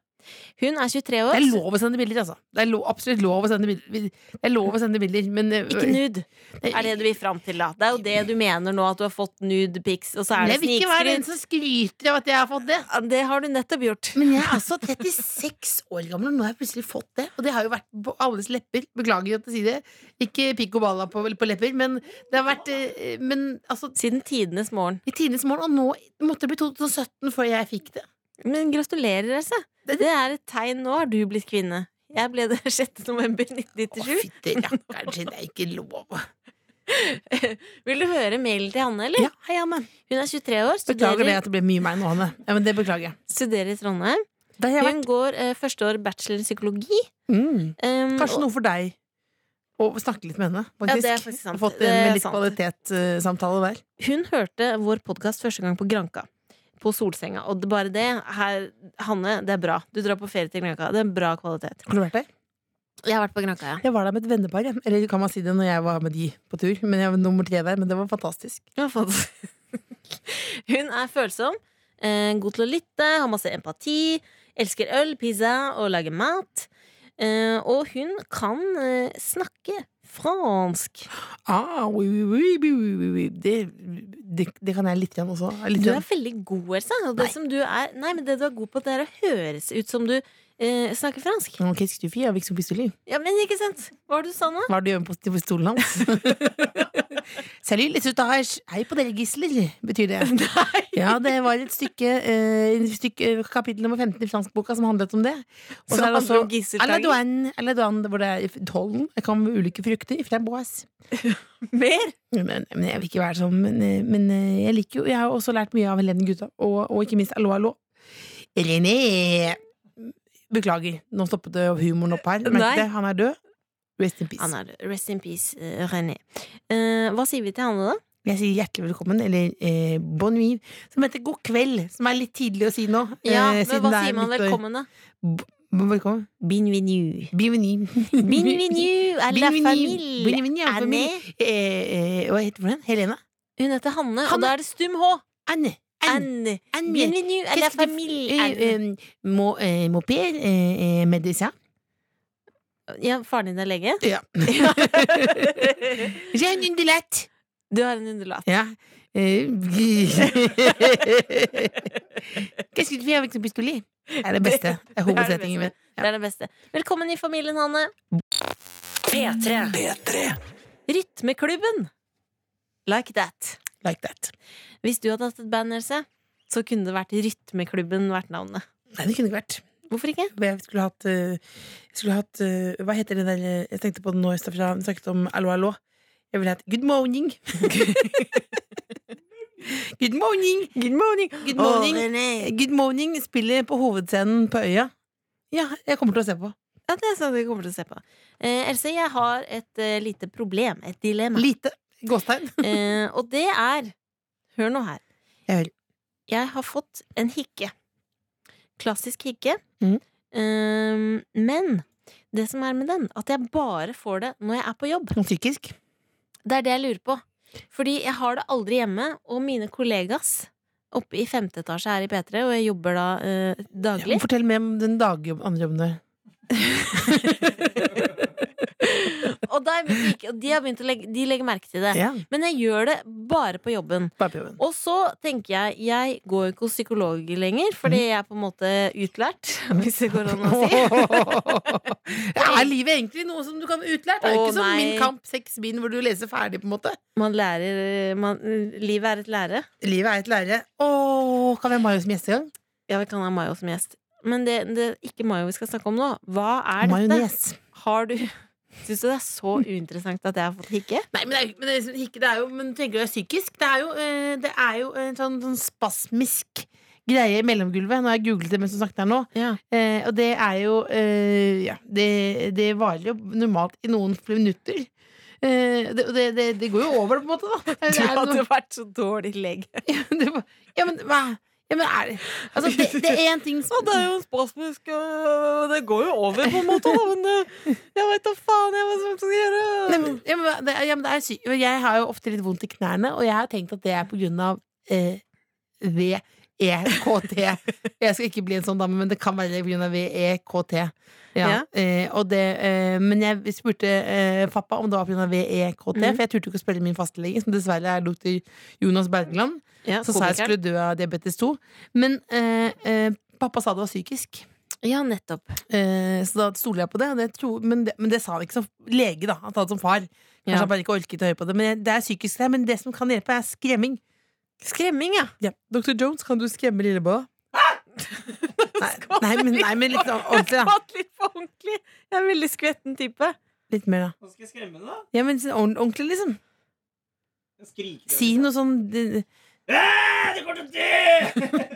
Speaker 3: Hun er 23 år.
Speaker 4: Det er lov å sende bilder, altså. Det er lov, absolutt lov å sende bilder. Det er lov å sende bilder, men øh,
Speaker 3: Ikke nude, er det du vil fram til, da. Det er jo det du mener nå, at du har fått nude pics, og så er det
Speaker 4: Jeg vil ikke være den
Speaker 3: snikskryt.
Speaker 4: som skryter av at jeg har fått det.
Speaker 3: Ja, Det har du nettopp gjort.
Speaker 4: Men jeg er altså 36 år gammel, og nå har jeg plutselig fått det. Og det har jo vært på alles lepper. Beklager at jeg sier det. Ikke pikk og balla på, på lepper, men det har vært eh, Men altså
Speaker 3: Siden tidenes morgen.
Speaker 4: I tidenes morgen, og nå måtte det bli 2017 før jeg fikk det.
Speaker 3: Men gratulerer, Else.
Speaker 4: Det-
Speaker 3: Det er et tegn. Nå har du blitt kvinne. Jeg ble det 6. november
Speaker 4: Å,
Speaker 3: 1997.
Speaker 4: fytti rakkeren sin, det er ikke lov.
Speaker 3: Vil du høre mailen til Hanne, eller?
Speaker 4: Ja, hei, Anne.
Speaker 3: Hun er 23 år,
Speaker 4: Beklager det
Speaker 3: studerer,
Speaker 4: at det ble mye meg nå, Hanne. Ja, men det beklager jeg.
Speaker 3: studerer i Trondheim.
Speaker 4: Der har jeg
Speaker 3: Hun går eh, første år bachelor i psykologi.
Speaker 4: vært. Mm.
Speaker 3: Um,
Speaker 4: Kanskje noe for deg å snakke litt med henne, faktisk.
Speaker 3: Ja, det er faktisk sant.
Speaker 4: Fått
Speaker 3: Det
Speaker 4: en
Speaker 3: er
Speaker 4: litt
Speaker 3: sant.
Speaker 4: kvalitetssamtale der.
Speaker 3: Hun hørte vår podkast første gang på Granka. På Solsenga. Og det bare det her, Hanne, det er bra. Du drar på ferie til Granka. Det er bra kvalitet.
Speaker 4: Har du vært der?
Speaker 3: Jeg har vært på Granka, ja.
Speaker 4: Jeg var der med et vennepar. jeg. Eller kan man si det når jeg var med de på tur? Men jeg var nummer tre der, men det var fantastisk.
Speaker 3: Ja, faen. Hun er følsom, eh, god til å lytte, har masse empati, elsker øl, pizza og lager mat. Eh, og hun kan eh, snakke fransk.
Speaker 4: Ah, oui, oui, oui, oui, oui, oui, oui. Det, det, det kan jeg litt igjen også. Litt
Speaker 3: Du
Speaker 4: grann.
Speaker 3: er veldig god, Elsa. Og det,
Speaker 4: Nei.
Speaker 3: som du er, nei, men det du er god på, det er å høres ut som du eh, snakker fransk.
Speaker 4: Ok, qu'est-ce que tu fais avec son pistolet?
Speaker 3: Ja, men ikke sant? Hva var det du sa nå?
Speaker 4: Hva er det du gjør med post- pistolen hans? Salut, les otages. Hei på dere, gisler, betyr det.
Speaker 3: Nei.
Speaker 4: Ja, det var et stykke, eh, et stykke eh, kapittel nummer 15 i franskboka som handlet om det. Og
Speaker 3: Som
Speaker 4: så er det
Speaker 3: handler
Speaker 4: også
Speaker 3: om gisseltaging?
Speaker 4: Aladoine, Aladoine, hvor det er tollen. Jeg kan ulike frukter fra Boas.
Speaker 3: Mer?
Speaker 4: Men, men jeg vil ikke være sånn, men, eh, men eh, jeg liker jo Jeg har også lært mye av Helene Gutta, og, og ikke minst Allo, allo. René! Beklager, nå stoppet det humoren opp her.
Speaker 3: Nei.
Speaker 4: Merket det? Han er død. Rest in peace.
Speaker 3: Han er Rest in peace, eh, René. Eh, hva sier vi til Hanne, da?
Speaker 4: Jeg sier hjertelig velkommen, eller eh, bon nuit, som heter god kveld, som er litt tidlig å si nå. eh,
Speaker 3: men
Speaker 4: siden
Speaker 3: hva
Speaker 4: det er
Speaker 3: sier man
Speaker 4: nyttår.
Speaker 3: velkommen, da?
Speaker 4: B- Velkommen.
Speaker 3: Bienvenue.
Speaker 4: Bienvenue.
Speaker 3: Bienvenue à la
Speaker 4: Bienvenue.
Speaker 3: famille.
Speaker 4: Bienvenue à la
Speaker 3: Anne.
Speaker 4: famille. Eh, eh, hva heter hun? Helene?
Speaker 3: Hun heter Hanne,
Speaker 4: Hanne.
Speaker 3: og da er det stum H.
Speaker 4: Anne. Anne.
Speaker 3: Anne.
Speaker 4: Anne.
Speaker 3: Bienvenue à la
Speaker 4: Qu'est-ce que tu-
Speaker 3: famille.
Speaker 4: Eh,
Speaker 3: Anne.
Speaker 4: eh, mon, eh, mon père, eh, eh, médecin. euh,
Speaker 3: Ja, faren din er lege?
Speaker 4: Ja. J'ai un undulette.
Speaker 3: Du har en underlat.
Speaker 4: Ja. Eh, Qu'est-ce que tu fais avec ce pistolet? Det er det
Speaker 3: Det
Speaker 4: beste. Det er
Speaker 3: er det
Speaker 4: hovedsetningen min.
Speaker 3: beste. Det er det beste. Velkommen i familien, Hanne.
Speaker 1: P3.
Speaker 3: Rytmeklubben. Like that.
Speaker 4: Like that.
Speaker 3: Hvis du hadde hatt et band, Else, så kunne det vært Rytmeklubben vært navnet.
Speaker 4: Nei, det kunne ikke vært.
Speaker 3: Hvorfor ikke?
Speaker 4: Jeg skulle hatt, eh, jeg skulle hatt eh, Hva heter det der eh, Jeg tenkte på det nå i stad, for jeg snakket om allo, allo. Jeg ville hatt Good morning. Good morning. Good morning. Good morning. Good morning spiller på hovedscenen på Øya. Ja, jeg kommer til å se på.
Speaker 3: Ja, det er sånn vi kommer til å se på. Eh, Else, jeg har et eh, lite problem. Et dilemma.
Speaker 4: Lite gåstegn.
Speaker 3: Eh, og det er Hør nå her.
Speaker 4: Jeg hører.
Speaker 3: Jeg har fått en hikke. Klassisk hikke.
Speaker 4: Mhm.
Speaker 3: Eh, men det som er med den, at jeg bare får det når jeg er på jobb.
Speaker 4: Noe psykisk.
Speaker 3: Det er det jeg lurer på. Fordi jeg har det aldri hjemme, og mine kollegas oppe i femte etasje her i P3, og jeg jobber da eh, daglig
Speaker 4: Ja, fortell mer om den dagjobb, andre jobben du har.
Speaker 3: og, der begynte jeg ikke, og de, har begynt å legge, de legger merke til det.
Speaker 4: Ja,
Speaker 3: Men jeg gjør det bare på jobben.
Speaker 4: bare på jobben.
Speaker 3: Og så tenker jeg jeg går jo ikke hos psykolog lenger, fordi jeg er på en måte utlært. Hvis det går an å si.
Speaker 4: Ja, er livet egentlig noe som du kan utlært? Det er jo
Speaker 3: Å,
Speaker 4: ikke som
Speaker 3: nei.
Speaker 4: Min kamp seks bind, hvor du leser ferdig, på en måte.
Speaker 3: Man lærer eh, man, Livet er et lære.
Speaker 4: Livet er et lære. Åh, kan vi ha Mayo som gjest i gang?
Speaker 3: Ja, vi kan ha Mayo som gjest. Men det det er ikke Mayo vi skal snakke om nå. Hva er dette?
Speaker 4: Majones.
Speaker 3: Har du Syns du det er så uinteressant at jeg har fått hikke?
Speaker 4: Nei, men det er, jo- men det er, liksom ikke, det er jo Men tenker du det er psykisk? Det er jo, eh, det er jo en sånn, sånn spasmisk greie i mellomgulvet. Nå har jeg googlet det mens du snakket her nå.
Speaker 3: Ja.
Speaker 4: Eh, og det er jo eh, Ja, det, det varer jo normalt i noen minutter. Eh, det, og det, det, det går jo over, på en måte, da. Det er noe-
Speaker 3: vært så dårlig lege.
Speaker 4: Ja, men det var- ja, men hva? Ja, men er det Altså, det, det er én ting som
Speaker 3: Det er jo en spasmisk øh, Det går jo over, på en måte, da, men det, jeg veit da faen jeg hva som skal gjøre.
Speaker 4: Nei, men, ja, men, hva- det, er- ja, men det er sykt. Jeg har jo ofte litt vondt i knærne, og jeg har tenkt at det er på grunn av eh, VEKT. Jeg skal ikke bli en sånn dame, men det kan være på grunn av VEKT. Ja, Eh, og det, eh, men jeg spurte eh, pappa om det var på grunn av VEKT,
Speaker 3: Mhm.
Speaker 4: for jeg turte jo ikke å spørre min fastlege, som dessverre er doktor Jonas Bergland,
Speaker 3: Ja,
Speaker 4: som sa jeg skulle dø av diabetes 2. Men eh, eh, pappa sa det var psykisk.
Speaker 3: Ja, nettopp.
Speaker 4: Eh, Så da stoler jeg på det, og det tror, men, det, men det sa han ikke som lege, da. Han sa det som far. Kanskje
Speaker 3: Ja.
Speaker 4: han bare ikke orket å høre på det. Men jeg- det er psykisk det, men det som kan hjelpe, er skremming.
Speaker 3: Skremming, ja.
Speaker 4: Dr. Jones, kan du skremme lillebolla? Ah! Nei, nei, men, nei, men litt sånn ordentlig, da.
Speaker 3: Skvatt litt på ordentlig. Jeg er en veldig skvetten type.
Speaker 4: Litt mer, da.
Speaker 6: Hva skal jeg skremme da?
Speaker 4: Ja, men sånn ordent- ordentlig, liksom.
Speaker 6: Jeg skriker.
Speaker 4: Si noe sånn eh,
Speaker 6: Du kommer til å dø!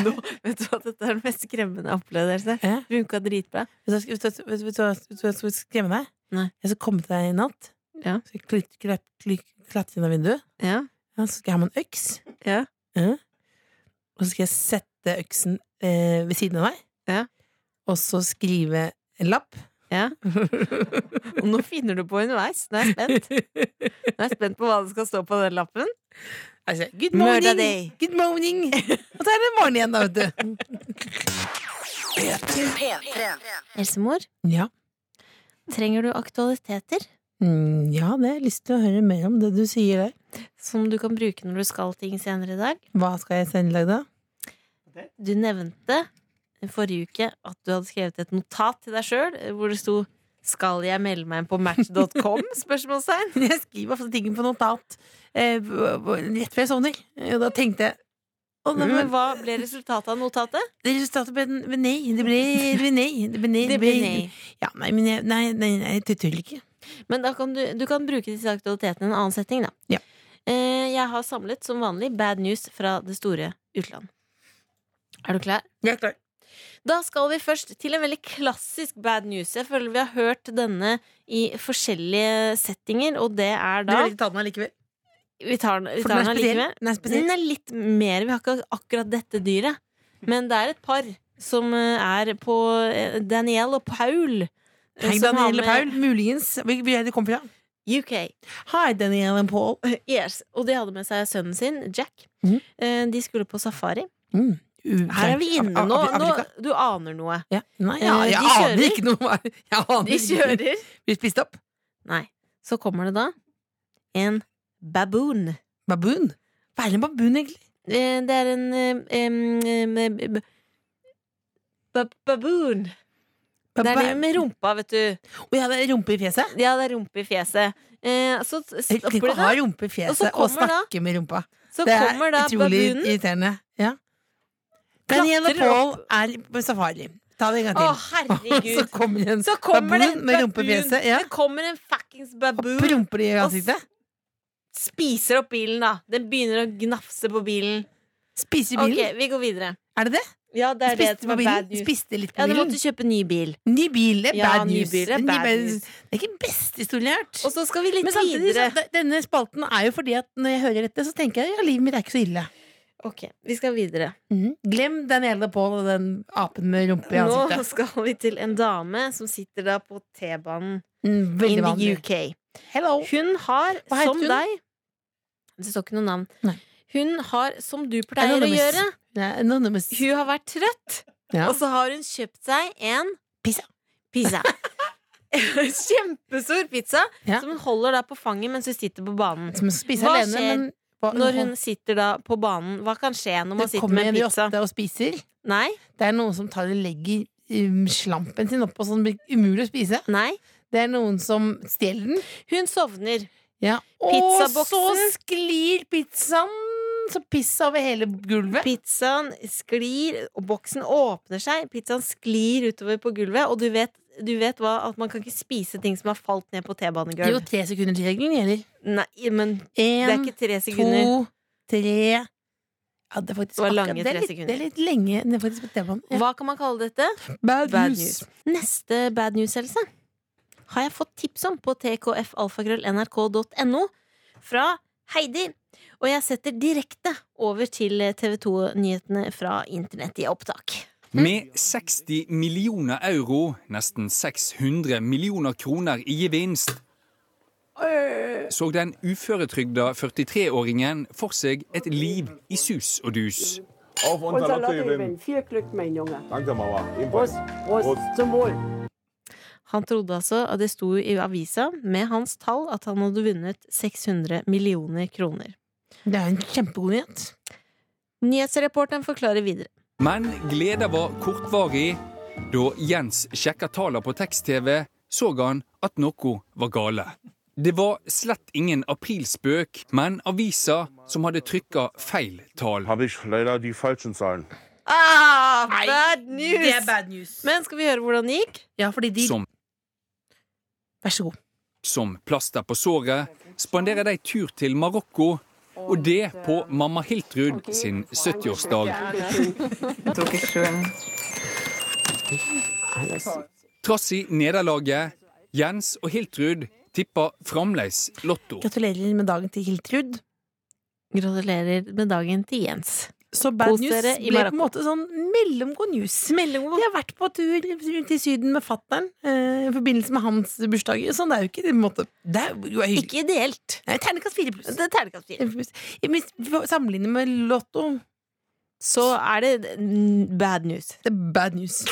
Speaker 3: Nå, vet du hva, dette er den mest skremmende opplevelse.
Speaker 4: Ja.
Speaker 3: Runka dritbra.
Speaker 4: Vet du hva vet du- vet du- vet du hva- vet du hva jeg skal skremme deg?
Speaker 3: Nei.
Speaker 4: Jeg skal komme til deg i natt.
Speaker 3: Ja.
Speaker 4: Så jeg klipp- klipp- klipp- klatre inn av vinduet.
Speaker 3: Ja.
Speaker 4: Ja, så skal jeg ha med en øks.
Speaker 3: Ja.
Speaker 4: Ja. Og så skal jeg sette øksen eh, ved siden av deg.
Speaker 3: Ja.
Speaker 4: Og så skrive en lapp.
Speaker 3: Ja. Og nå finner du på underveis. Nå er jeg spent. Nå er jeg spent på hva det skal stå på den lappen.
Speaker 4: Altså, good
Speaker 3: Murder
Speaker 4: morning!
Speaker 3: day.
Speaker 4: Good morning! Og så er det morgen igjen, da, vet du.
Speaker 3: Helsemor,
Speaker 4: Ja.
Speaker 3: trenger du aktualiteter
Speaker 4: Mm, ja, det. Jeg har lyst til å høre mer om det du sier der.
Speaker 3: som du kan bruke når du skal ting senere i dag?
Speaker 4: Hva skal jeg sende i dag, da?
Speaker 3: Du nevnte forrige uke at du hadde skrevet et notat til deg sjøl hvor det sto 'Skal jeg melde meg inn på match.com?' spørsmålstegn.
Speaker 4: Jeg skriver ofte ting på notat eh, b- b- rett før jeg sovner. Og da tenkte jeg å, nei,
Speaker 3: Men
Speaker 4: men,
Speaker 3: hva ble resultatet av notatet?
Speaker 4: Det resultatet ble en- ble nei. Det ble, det ble nei. Det ble nei.
Speaker 3: Det ble nei.
Speaker 4: Ja, nei, men jeg, nei, nei, nei, jeg tuller ikke.
Speaker 3: Men da kan du, du kan bruke disse aktualitetene i en annen setting, da.
Speaker 4: Ja.
Speaker 3: Eh, jeg har samlet, som vanlig, bad news fra det store utland. Er du klar? Da skal vi først til en veldig klassisk bad news. Jeg føler vi har hørt denne i forskjellige settinger, og det er da
Speaker 4: ikke ta den allikevel.
Speaker 3: Vi tar den, vi
Speaker 4: For
Speaker 3: tar den allikevel.
Speaker 4: Den er
Speaker 3: Den er litt mer. Vi har ikke akkurat dette dyret. Men det er et par som eh, er på eh, Daniel og Paul. eh,
Speaker 4: Hei,
Speaker 3: som har
Speaker 4: Danielle
Speaker 3: med
Speaker 4: Paul. Muligens. Hvor hvor er det de kommer fra?
Speaker 3: UK.
Speaker 4: Hei, Danielle and Paul.
Speaker 3: Yes, og de hadde med seg sønnen sin, Jack.
Speaker 4: Mhm.
Speaker 3: Eh, De skulle på safari.
Speaker 4: Mm.
Speaker 3: Her er vi inne nå.
Speaker 4: Af- Af-
Speaker 3: nå
Speaker 4: Afrika.
Speaker 3: du aner noe.
Speaker 4: Ja. Nei,
Speaker 3: Eh,
Speaker 4: ja, jeg
Speaker 3: de
Speaker 4: aner
Speaker 3: kjører.
Speaker 4: ikke noe. Jeg aner
Speaker 3: De
Speaker 4: ikke.
Speaker 3: kjører.
Speaker 4: Vi spiste opp.
Speaker 3: Nei. Så kommer det da en baboon.
Speaker 4: Baboon. Hva er en baboon, egentlig?
Speaker 3: Eh, Det er en eh, em, em, em, em, ba- Baboon. Det er det med rumpa, vet du.
Speaker 4: Å, ja, det er rumpe i fjeset?
Speaker 3: Ja, det er rumpe i fjeset. Eh, Så t-
Speaker 4: Jeg
Speaker 3: stopper
Speaker 4: liker
Speaker 3: de
Speaker 4: ikke å ha
Speaker 3: da.
Speaker 4: rumpe i
Speaker 3: Og så
Speaker 4: fjeset og
Speaker 3: kommer da-
Speaker 4: snakke med rumpa.
Speaker 3: Så
Speaker 4: Det er
Speaker 3: kommer da
Speaker 4: utrolig
Speaker 3: baboonen.
Speaker 4: irriterende. Ja.
Speaker 3: Klatrer
Speaker 4: Danielle
Speaker 3: opp.
Speaker 4: Paul er på safari. Ta det en gang
Speaker 3: Å,
Speaker 4: til. så
Speaker 3: herregud.
Speaker 4: kommer en
Speaker 3: Så kommer det
Speaker 4: baboon
Speaker 3: en
Speaker 4: med rumpe i
Speaker 3: baboon.
Speaker 4: fjeset. Ja.
Speaker 3: Det kommer en fuckings baboon.
Speaker 4: Promper i
Speaker 3: Og s-
Speaker 4: ansiktet.
Speaker 3: spiser opp bilen, da. Den begynner å gnafse på bilen.
Speaker 4: Spiser bilen.
Speaker 3: Ok, vi går videre.
Speaker 4: Er det det?
Speaker 3: Ja, det er det
Speaker 4: Spiste
Speaker 3: som
Speaker 4: på
Speaker 3: er
Speaker 4: bilen?
Speaker 3: bad news.
Speaker 4: Spiste litt
Speaker 3: Ja,
Speaker 4: på
Speaker 3: du
Speaker 4: bilen?
Speaker 3: måtte kjøpe ny bil.
Speaker 4: Ny bil er
Speaker 3: Ja,
Speaker 4: bad
Speaker 3: ny
Speaker 4: news.
Speaker 3: bil er
Speaker 4: Ny
Speaker 3: bad
Speaker 4: bad-
Speaker 3: news.
Speaker 4: Det er ikke den beste historien jeg har hørt.
Speaker 3: Og så skal vi litt
Speaker 4: Men samtidig, så,
Speaker 3: videre.
Speaker 4: de- denne spalten er jo fordi at når jeg hører dette, så tenker jeg ja, livet mitt er ikke så ille.
Speaker 3: Ok, vi skal videre.
Speaker 4: Glem Danielle Paul og den apen med rumpe i
Speaker 3: Mm. Nå
Speaker 4: ansiktet.
Speaker 3: skal vi til en dame som sitter da på T-banen
Speaker 4: Mm,
Speaker 3: in
Speaker 4: Veldig
Speaker 3: the
Speaker 4: vanlig.
Speaker 3: UK.
Speaker 4: Hello.
Speaker 3: Hun har,
Speaker 4: Hva heter
Speaker 3: som
Speaker 4: hun?
Speaker 3: deg Det står ikke noe navn.
Speaker 4: Nei.
Speaker 3: Hun har, som du pleier å
Speaker 4: Anonymous.
Speaker 3: gjøre
Speaker 4: Nei, Anonymous.
Speaker 3: Hun har vært trøtt,
Speaker 4: Ja.
Speaker 3: og så har hun kjøpt seg en
Speaker 4: Pizza.
Speaker 3: Pizza. Kjempestor pizza
Speaker 4: Ja.
Speaker 3: som hun holder da på fanget mens hun sitter på banen.
Speaker 4: Som spiser
Speaker 3: Hva
Speaker 4: alene,
Speaker 3: skjer
Speaker 4: men hva-
Speaker 3: Når hun sitter da på banen, hva kan skje når man
Speaker 4: det
Speaker 3: sitter
Speaker 4: kommer
Speaker 3: med
Speaker 4: en
Speaker 3: en
Speaker 4: i
Speaker 3: pizza?
Speaker 4: åtte og spiser
Speaker 3: Nei,
Speaker 4: Det er noen som tar og legger um, slampen sin oppå så den blir umulig å spise.
Speaker 3: nei.
Speaker 4: Det er noen som stjeler den.
Speaker 3: Hun sovner.
Speaker 4: Ja. Og
Speaker 3: Pizzaboksen.
Speaker 4: så sklir pizzaen så piss over hele gulvet.
Speaker 3: Pizzaen sklir, og boksen åpner seg. Pizzaen sklir utover på gulvet, og du vet, du vet hva, at man kan ikke spise ting som har falt ned på
Speaker 4: Det er jo
Speaker 3: T-banegulv.
Speaker 4: tre sekunder regelen gjelder.
Speaker 3: Nei, men det er
Speaker 4: En,
Speaker 3: ikke tre sekunder.
Speaker 4: to, tre Ja, det er faktisk
Speaker 3: Det var
Speaker 4: akkurat-
Speaker 3: lange
Speaker 4: det er
Speaker 3: tre
Speaker 4: litt,
Speaker 3: sekunder.
Speaker 4: Det er litt lenge. Det er faktisk på T-banen. Ja.
Speaker 3: Hva kan man kalle dette?
Speaker 4: Bad,
Speaker 3: Bad news. Neste bad news, Else, har jeg fått tips om på tkfalfakrøllnrk.no fra Heidi. Og jeg setter direkte over til TV 2-nyhetene fra internett i opptak.
Speaker 7: Med 60 millioner euro, nesten 600 millioner kroner i gevinst, så den uføretrygda 43-åringen for seg et liv i sus og dus.
Speaker 8: Auf unser,
Speaker 9: Unser
Speaker 8: Lottogewinn.
Speaker 9: Lottogewinnen. Viel Glück, mein Junge.
Speaker 8: Danke, Mama. Ebenfalls.
Speaker 9: Prost, Prost,
Speaker 8: Prost.
Speaker 9: zum Wohl.
Speaker 3: Han trodde altså, og det sto i avisa med hans tall, at han hadde vunnet 600 millioner kroner.
Speaker 4: Det er en kjempegod nyhet.
Speaker 3: Nyhetsreporteren forklarer videre.
Speaker 7: Men gleda var kortvarig. Da Jens sjekka tallene på tekst-TV, så han at noe var gale. Det var slett ingen aprilspøk, men avisa som hadde trykka feil tall.
Speaker 8: Habe ich leider die falschen Zahlen.
Speaker 3: Ah, bad
Speaker 4: Det er bad news.
Speaker 3: Men skal vi høre hvordan det gikk?
Speaker 4: Ja, fordi de
Speaker 7: Som
Speaker 4: Vær så god.
Speaker 7: Som plaster på såret spanderer de tur til Marokko Og det på mamma Hiltrud sin 70-årsdag. Trass i nederlaget, Jens og Hiltrud tipper fremdeles Lotto.
Speaker 4: Gratulerer med dagen til Hiltrud.
Speaker 3: Gratulerer med dagen til Jens.
Speaker 4: Så bad
Speaker 3: Kos
Speaker 4: news
Speaker 3: dere i
Speaker 4: ble på
Speaker 3: Marokko.
Speaker 4: en måte sånn mellomgod news.
Speaker 3: Mellomgod.
Speaker 4: Jeg har vært på tur rundt i Syden med fattern eh, i forbindelse med hans bursdag. Sånn, det er jo ikke det, på en måte. Det er jo hyggelig.
Speaker 3: Ikke ideelt.
Speaker 4: Nei, Terningkast fire pluss.
Speaker 3: Det er terningkast fire.
Speaker 4: Sammenlignet med Lotto,
Speaker 3: Så er det mm, bad news.
Speaker 4: det er bad news.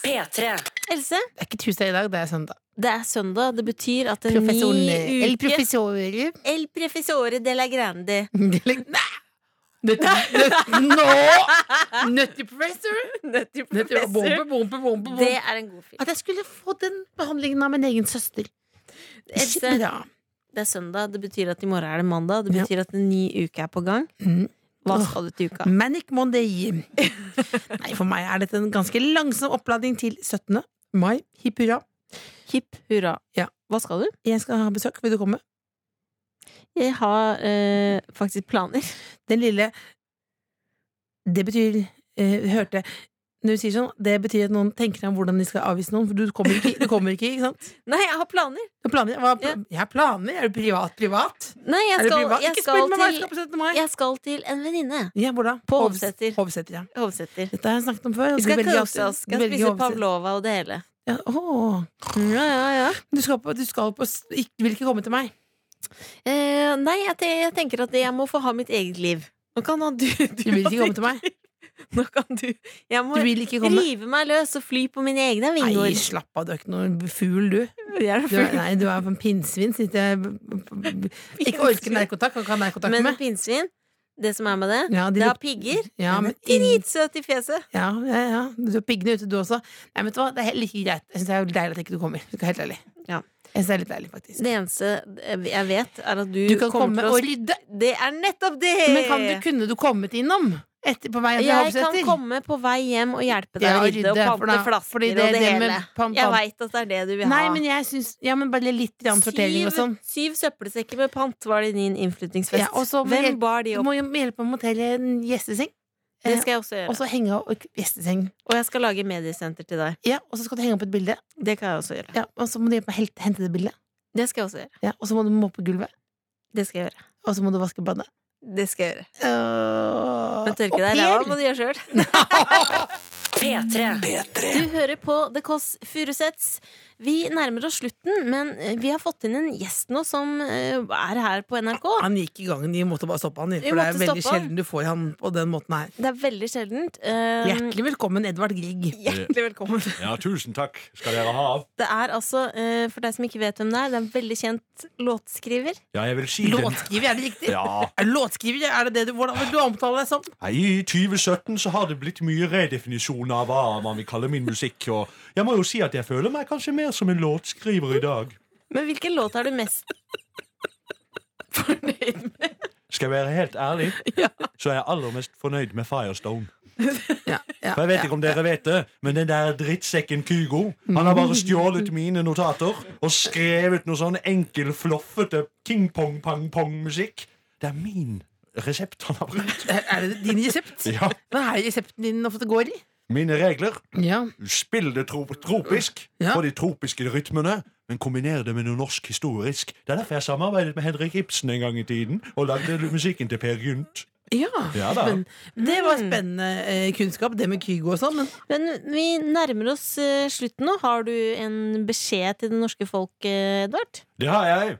Speaker 1: P3.
Speaker 3: Else,
Speaker 4: Det er ikke tirsdag i dag, det er søndag.
Speaker 3: det er søndag. Det betyr at det er ny
Speaker 4: Eller
Speaker 3: uke
Speaker 4: professorer.
Speaker 3: El professore de la grande.
Speaker 4: Nei! Nøtti, nøtti, nå! Nøtti professor.
Speaker 3: Nøtti
Speaker 4: Nøtti, bombe, bombe,
Speaker 3: Det
Speaker 4: bombe, bombe.
Speaker 3: er en god film.
Speaker 4: At jeg skulle få den behandlingen av min egen søster. Ikke
Speaker 3: Else,
Speaker 4: bra.
Speaker 3: det er søndag. Det betyr at i morgen er det mandag. Det betyr at en ny uke er på gang.
Speaker 4: Mm.
Speaker 3: Hva
Speaker 4: Åh.
Speaker 3: skal du til uka?
Speaker 4: Manic Monday. Nei, for meg er dette en ganske langsom oppladning til 17. mai. Hipp hurra.
Speaker 3: Hipp hurra.
Speaker 4: Ja.
Speaker 3: Hva skal du?
Speaker 4: Jeg skal ha besøk. Vil du komme?
Speaker 3: Jeg har eh, faktisk planer.
Speaker 4: Den lille Det betyr eh, Hørte når du sier sånn, Det betyr at noen tenker om hvordan de skal avvise noen. For du kommer ikke, du kommer ikke, ikke sant?
Speaker 3: Nei, jeg har planer!
Speaker 4: Du har planer, hva,
Speaker 3: Ja.
Speaker 4: Jeg har planer! Er du privat, privat?
Speaker 3: Nei, jeg
Speaker 4: er du
Speaker 3: skal,
Speaker 4: privat?
Speaker 3: jeg
Speaker 4: ikke
Speaker 3: skal,
Speaker 4: spør meg hva jeg
Speaker 3: til,
Speaker 4: skal på 17. mai!
Speaker 3: jeg skal til en venninne.
Speaker 4: Ja, hvor da?
Speaker 3: På
Speaker 4: Hovs-
Speaker 3: Hovseter.
Speaker 4: Hovseter, ja.
Speaker 3: Hovseter.
Speaker 4: Dette har jeg snakket om før. og
Speaker 3: Vi
Speaker 4: du
Speaker 3: skal
Speaker 4: velger
Speaker 3: kose oss.
Speaker 4: Hovseter. Du
Speaker 3: Skal
Speaker 4: velger
Speaker 3: spise
Speaker 4: Hovseter.
Speaker 3: pavlova og det hele.
Speaker 4: Ja, åh.
Speaker 3: Ja, ja, ja.
Speaker 4: Du skal på, du skal på s- ikk- Du vil ikke komme til meg?
Speaker 3: Eh, nei, jeg, te- jeg tenker at jeg må få ha mitt eget liv. Nå kan han du, du
Speaker 4: Du vil ikke komme til meg?
Speaker 3: Nå kan du Jeg må
Speaker 4: Du vil ikke komme?
Speaker 3: rive meg løs og fly på mine egne
Speaker 4: Nei,
Speaker 3: vinger.
Speaker 4: slapp av, du er ikke noen fugl, du.
Speaker 3: Jeg er
Speaker 4: du er, nei, du er en pinnsvin. Sitter jeg Ikke orker nærkontakt, kan ikke ha nærkontakt
Speaker 3: Men
Speaker 4: med.
Speaker 3: pinnsvin, det som er med det,
Speaker 4: Ja, de
Speaker 3: det er
Speaker 4: lukter-
Speaker 3: pigger.
Speaker 4: Ja,
Speaker 3: De
Speaker 4: men
Speaker 3: er Dritsøt i fjeset.
Speaker 4: Ja, ja, ja. Du er piggene ute, du også. Nei, vet du hva? Det er helt like greit. Jeg syns det er jo deilig at ikke du kommer. Skal jeg være helt ærlig.
Speaker 3: Ja.
Speaker 4: Jeg synes det er litt deilig, faktisk.
Speaker 3: Det eneste jeg vet, er at du,
Speaker 4: Du kan
Speaker 3: kommer
Speaker 4: komme
Speaker 3: til å
Speaker 4: og rydde.
Speaker 3: Det er nettopp det!
Speaker 4: Men kan du, kunne du kommet innom? Etter, på vei til
Speaker 3: jeg kan
Speaker 4: Hovseter?
Speaker 3: komme på vei hjem og hjelpe deg
Speaker 4: Ja,
Speaker 3: å rydde og
Speaker 4: rydde, for
Speaker 3: pante
Speaker 4: da-
Speaker 3: flasker
Speaker 4: fordi det-
Speaker 3: og det,
Speaker 4: det med
Speaker 3: hele.
Speaker 4: pam-
Speaker 3: Jeg
Speaker 4: pam-
Speaker 3: veit at det er det du vil
Speaker 4: Nei,
Speaker 3: ha.
Speaker 4: men jeg syns Ja, men bare litt grann sortering og sånn.
Speaker 3: syv søppelsekker med pant var det i din innflyttingsfest.
Speaker 4: Ja, og så må jeg-
Speaker 3: Hvem bar de
Speaker 4: Du
Speaker 3: opp?
Speaker 4: må jo hjelpe meg med å telle en gjesteseng.
Speaker 3: Det skal jeg også gjøre.
Speaker 4: Og så henge opp gjesteseng.
Speaker 3: og jeg skal lage mediesenter til deg.
Speaker 4: Ja, og så skal du henge opp et bilde.
Speaker 3: Det kan jeg også gjøre.
Speaker 4: Ja, og så må du hjelpe meg å hel- hente det bildet.
Speaker 3: Det skal jeg også gjøre.
Speaker 4: Ja, og så må du moppe gulvet.
Speaker 3: Det skal jeg gjøre.
Speaker 4: Og så må du vaske badet.
Speaker 3: Det skal jeg gjøre.
Speaker 4: Øh,
Speaker 3: Men tørke
Speaker 4: au
Speaker 3: deg i ræva
Speaker 4: pair.
Speaker 3: må du gjøre sjøl.
Speaker 1: P3.
Speaker 2: P3.
Speaker 3: Du hører på The Kåss Furuseths. Vi nærmer oss slutten, men eh, vi har fått inn en gjest nå som eh, er her på NRK.
Speaker 4: Han gikk i gangen, vi måtte bare stoppe han.
Speaker 3: Vi
Speaker 4: For det er
Speaker 3: måtte
Speaker 4: veldig
Speaker 3: stoppe han.
Speaker 4: sjelden du får han på den måten her.
Speaker 3: Det er veldig sjeldent. Eh,
Speaker 4: Hjertelig velkommen, Edvard Grieg.
Speaker 3: hjertelig velkommen.
Speaker 9: Ja, tusen takk skal dere ha.
Speaker 3: Det er altså, eh, for deg som ikke vet hvem det er, det er en veldig kjent låtskriver.
Speaker 9: Ja, jeg vil si den.
Speaker 4: Låtskriver, er det riktig?
Speaker 9: Ja.
Speaker 4: Er du Låtskriver, er det det du, hvordan vil du omtale deg som?
Speaker 9: Nei, I 2017 så har det blitt mye redefinisjon av hva man vil kalle min musikk. Og jeg må jo si at jeg føler meg kanskje mer som en låtskriver i dag.
Speaker 3: Men hvilken låt er du mest fornøyd med?
Speaker 9: Skal jeg være helt ærlig, så er jeg aller mest fornøyd med Firestone.
Speaker 4: Ja, ja,
Speaker 9: For jeg vet ikke om dere vet det, men den der drittsekken Kygo Han har bare stjålet mine notater og skrevet noe sånn enkel, floffete King Pong-pang-pong-musikk. Det er min resept han har brukt.
Speaker 4: Er det din resept?
Speaker 9: Ja,
Speaker 4: Hva er resepten din ofte går i?
Speaker 9: Mine regler
Speaker 4: Ja.
Speaker 9: Spill det tro tropisk
Speaker 4: Ja.
Speaker 9: på de tropiske rytmene, men kombiner det med noe norsk historisk. Det er derfor jeg samarbeidet med Henrik Ibsen en gang i tiden og lagde musikken til Per Gynt. Ja da.
Speaker 4: Men, det var spennende eh, kunnskap, det med Kygo og sånn. Men
Speaker 3: Men vi nærmer oss eh, slutten nå. Har du en beskjed til det norske folk, eh, Edvard?
Speaker 9: Det har jeg.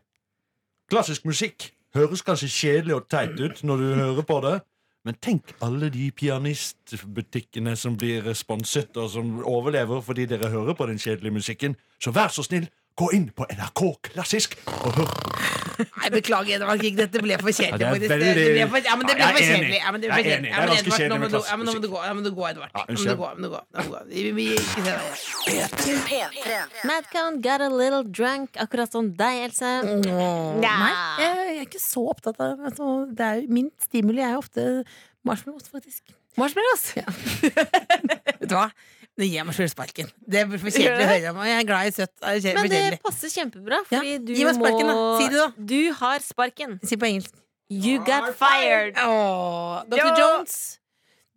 Speaker 9: Klassisk musikk høres kanskje kjedelig og teit ut når du hører på det. Men tenk alle de pianistbutikkene som blir sponset, og som overlever fordi dere hører på den kjedelige musikken. Så vær så snill, gå inn på NRK Klassisk og hør på
Speaker 4: Nei, beklager, Edvard Grieg, dette ble for kjedelig.
Speaker 9: Ja, det
Speaker 4: faktisk.
Speaker 9: er veldig-
Speaker 4: Det ble for- Ja, men det ble
Speaker 9: Ja, jeg
Speaker 4: for
Speaker 9: er enig.
Speaker 4: kjedelig. Ja, men det ble for
Speaker 9: Jeg er
Speaker 4: kjedelig.
Speaker 9: enig. Det er
Speaker 4: Ja, men
Speaker 9: ganske
Speaker 4: Edvard, nå
Speaker 9: kjedelig
Speaker 4: må
Speaker 9: med
Speaker 4: du- Ja, men nå må
Speaker 9: klassisk
Speaker 4: du gå, ja, men du går, Edvard.
Speaker 9: Ja,
Speaker 4: Ja, men
Speaker 9: unnskyld.
Speaker 4: du går, men du går, men du går. Vi, vi, ikke se deg.
Speaker 3: Madcon got a little drunk, akkurat som deg, Else.
Speaker 4: Nei, jeg, jeg er ikke så opptatt av altså, det er, jo- Min stimuli er jo ofte marshmallows, faktisk. Marshmallows? Ja. Vet du hva? Det gir jeg meg selv sparken. Det blir for kjedelig å høre om. og Jeg er glad i søtt. Det er kje- for
Speaker 3: Men det
Speaker 4: kjedelig.
Speaker 3: passer kjempebra, fordi
Speaker 4: Ja,
Speaker 3: du
Speaker 4: gi meg sparken,
Speaker 3: må
Speaker 4: da. Si det, da.
Speaker 3: Du har sparken.
Speaker 4: Si på engelsk.
Speaker 3: You got fired!
Speaker 4: Åh, Dr.
Speaker 3: Ja.
Speaker 4: Jones,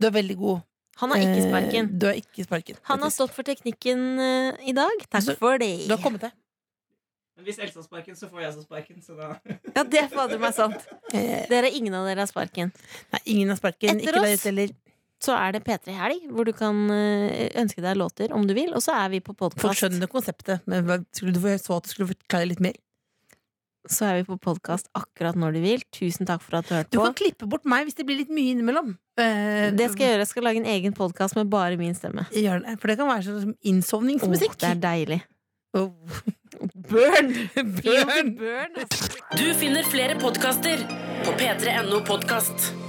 Speaker 4: du er veldig god.
Speaker 3: Han har ikke sparken.
Speaker 4: Eh, Du er ikke sparken.
Speaker 3: Han har stått for teknikken eh, i dag. Takk
Speaker 4: Så-
Speaker 3: for
Speaker 4: Du har
Speaker 3: det.
Speaker 4: kommet deg.
Speaker 6: Men hvis Elsa har sparken, så får jeg også sparken. Så da
Speaker 3: Ja, det er fader meg sant.
Speaker 4: Eh,
Speaker 3: Dere, ingen av dere har sparken.
Speaker 4: Nei, ingen har sparken.
Speaker 3: Etter
Speaker 4: ikke deg
Speaker 3: oss.
Speaker 4: ut heller.
Speaker 3: Så er det P3 Helg, hvor du kan eh, ønske deg låter om du vil, og så er vi på
Speaker 4: Folk
Speaker 3: podkast.
Speaker 4: skjønner konseptet, men hva- skulle du få- jeg så at du skulle forklare litt mer.
Speaker 3: Så er vi på podcast akkurat når du vil. Tusen takk for at du hørte
Speaker 4: Du
Speaker 3: på.
Speaker 4: kan klippe bort meg hvis det blir litt mye innimellom. Eh,
Speaker 3: Det skal jeg gjøre. Jeg skal lage en egen podkast med bare min stemme.
Speaker 4: Gjør det, for det kan være sånn som
Speaker 3: Åh,
Speaker 4: innsovningsmusikk.
Speaker 3: det er deilig.
Speaker 4: Oh.
Speaker 3: Burn!
Speaker 4: Burn!
Speaker 1: Du finner flere podkaster på p3.no podkast.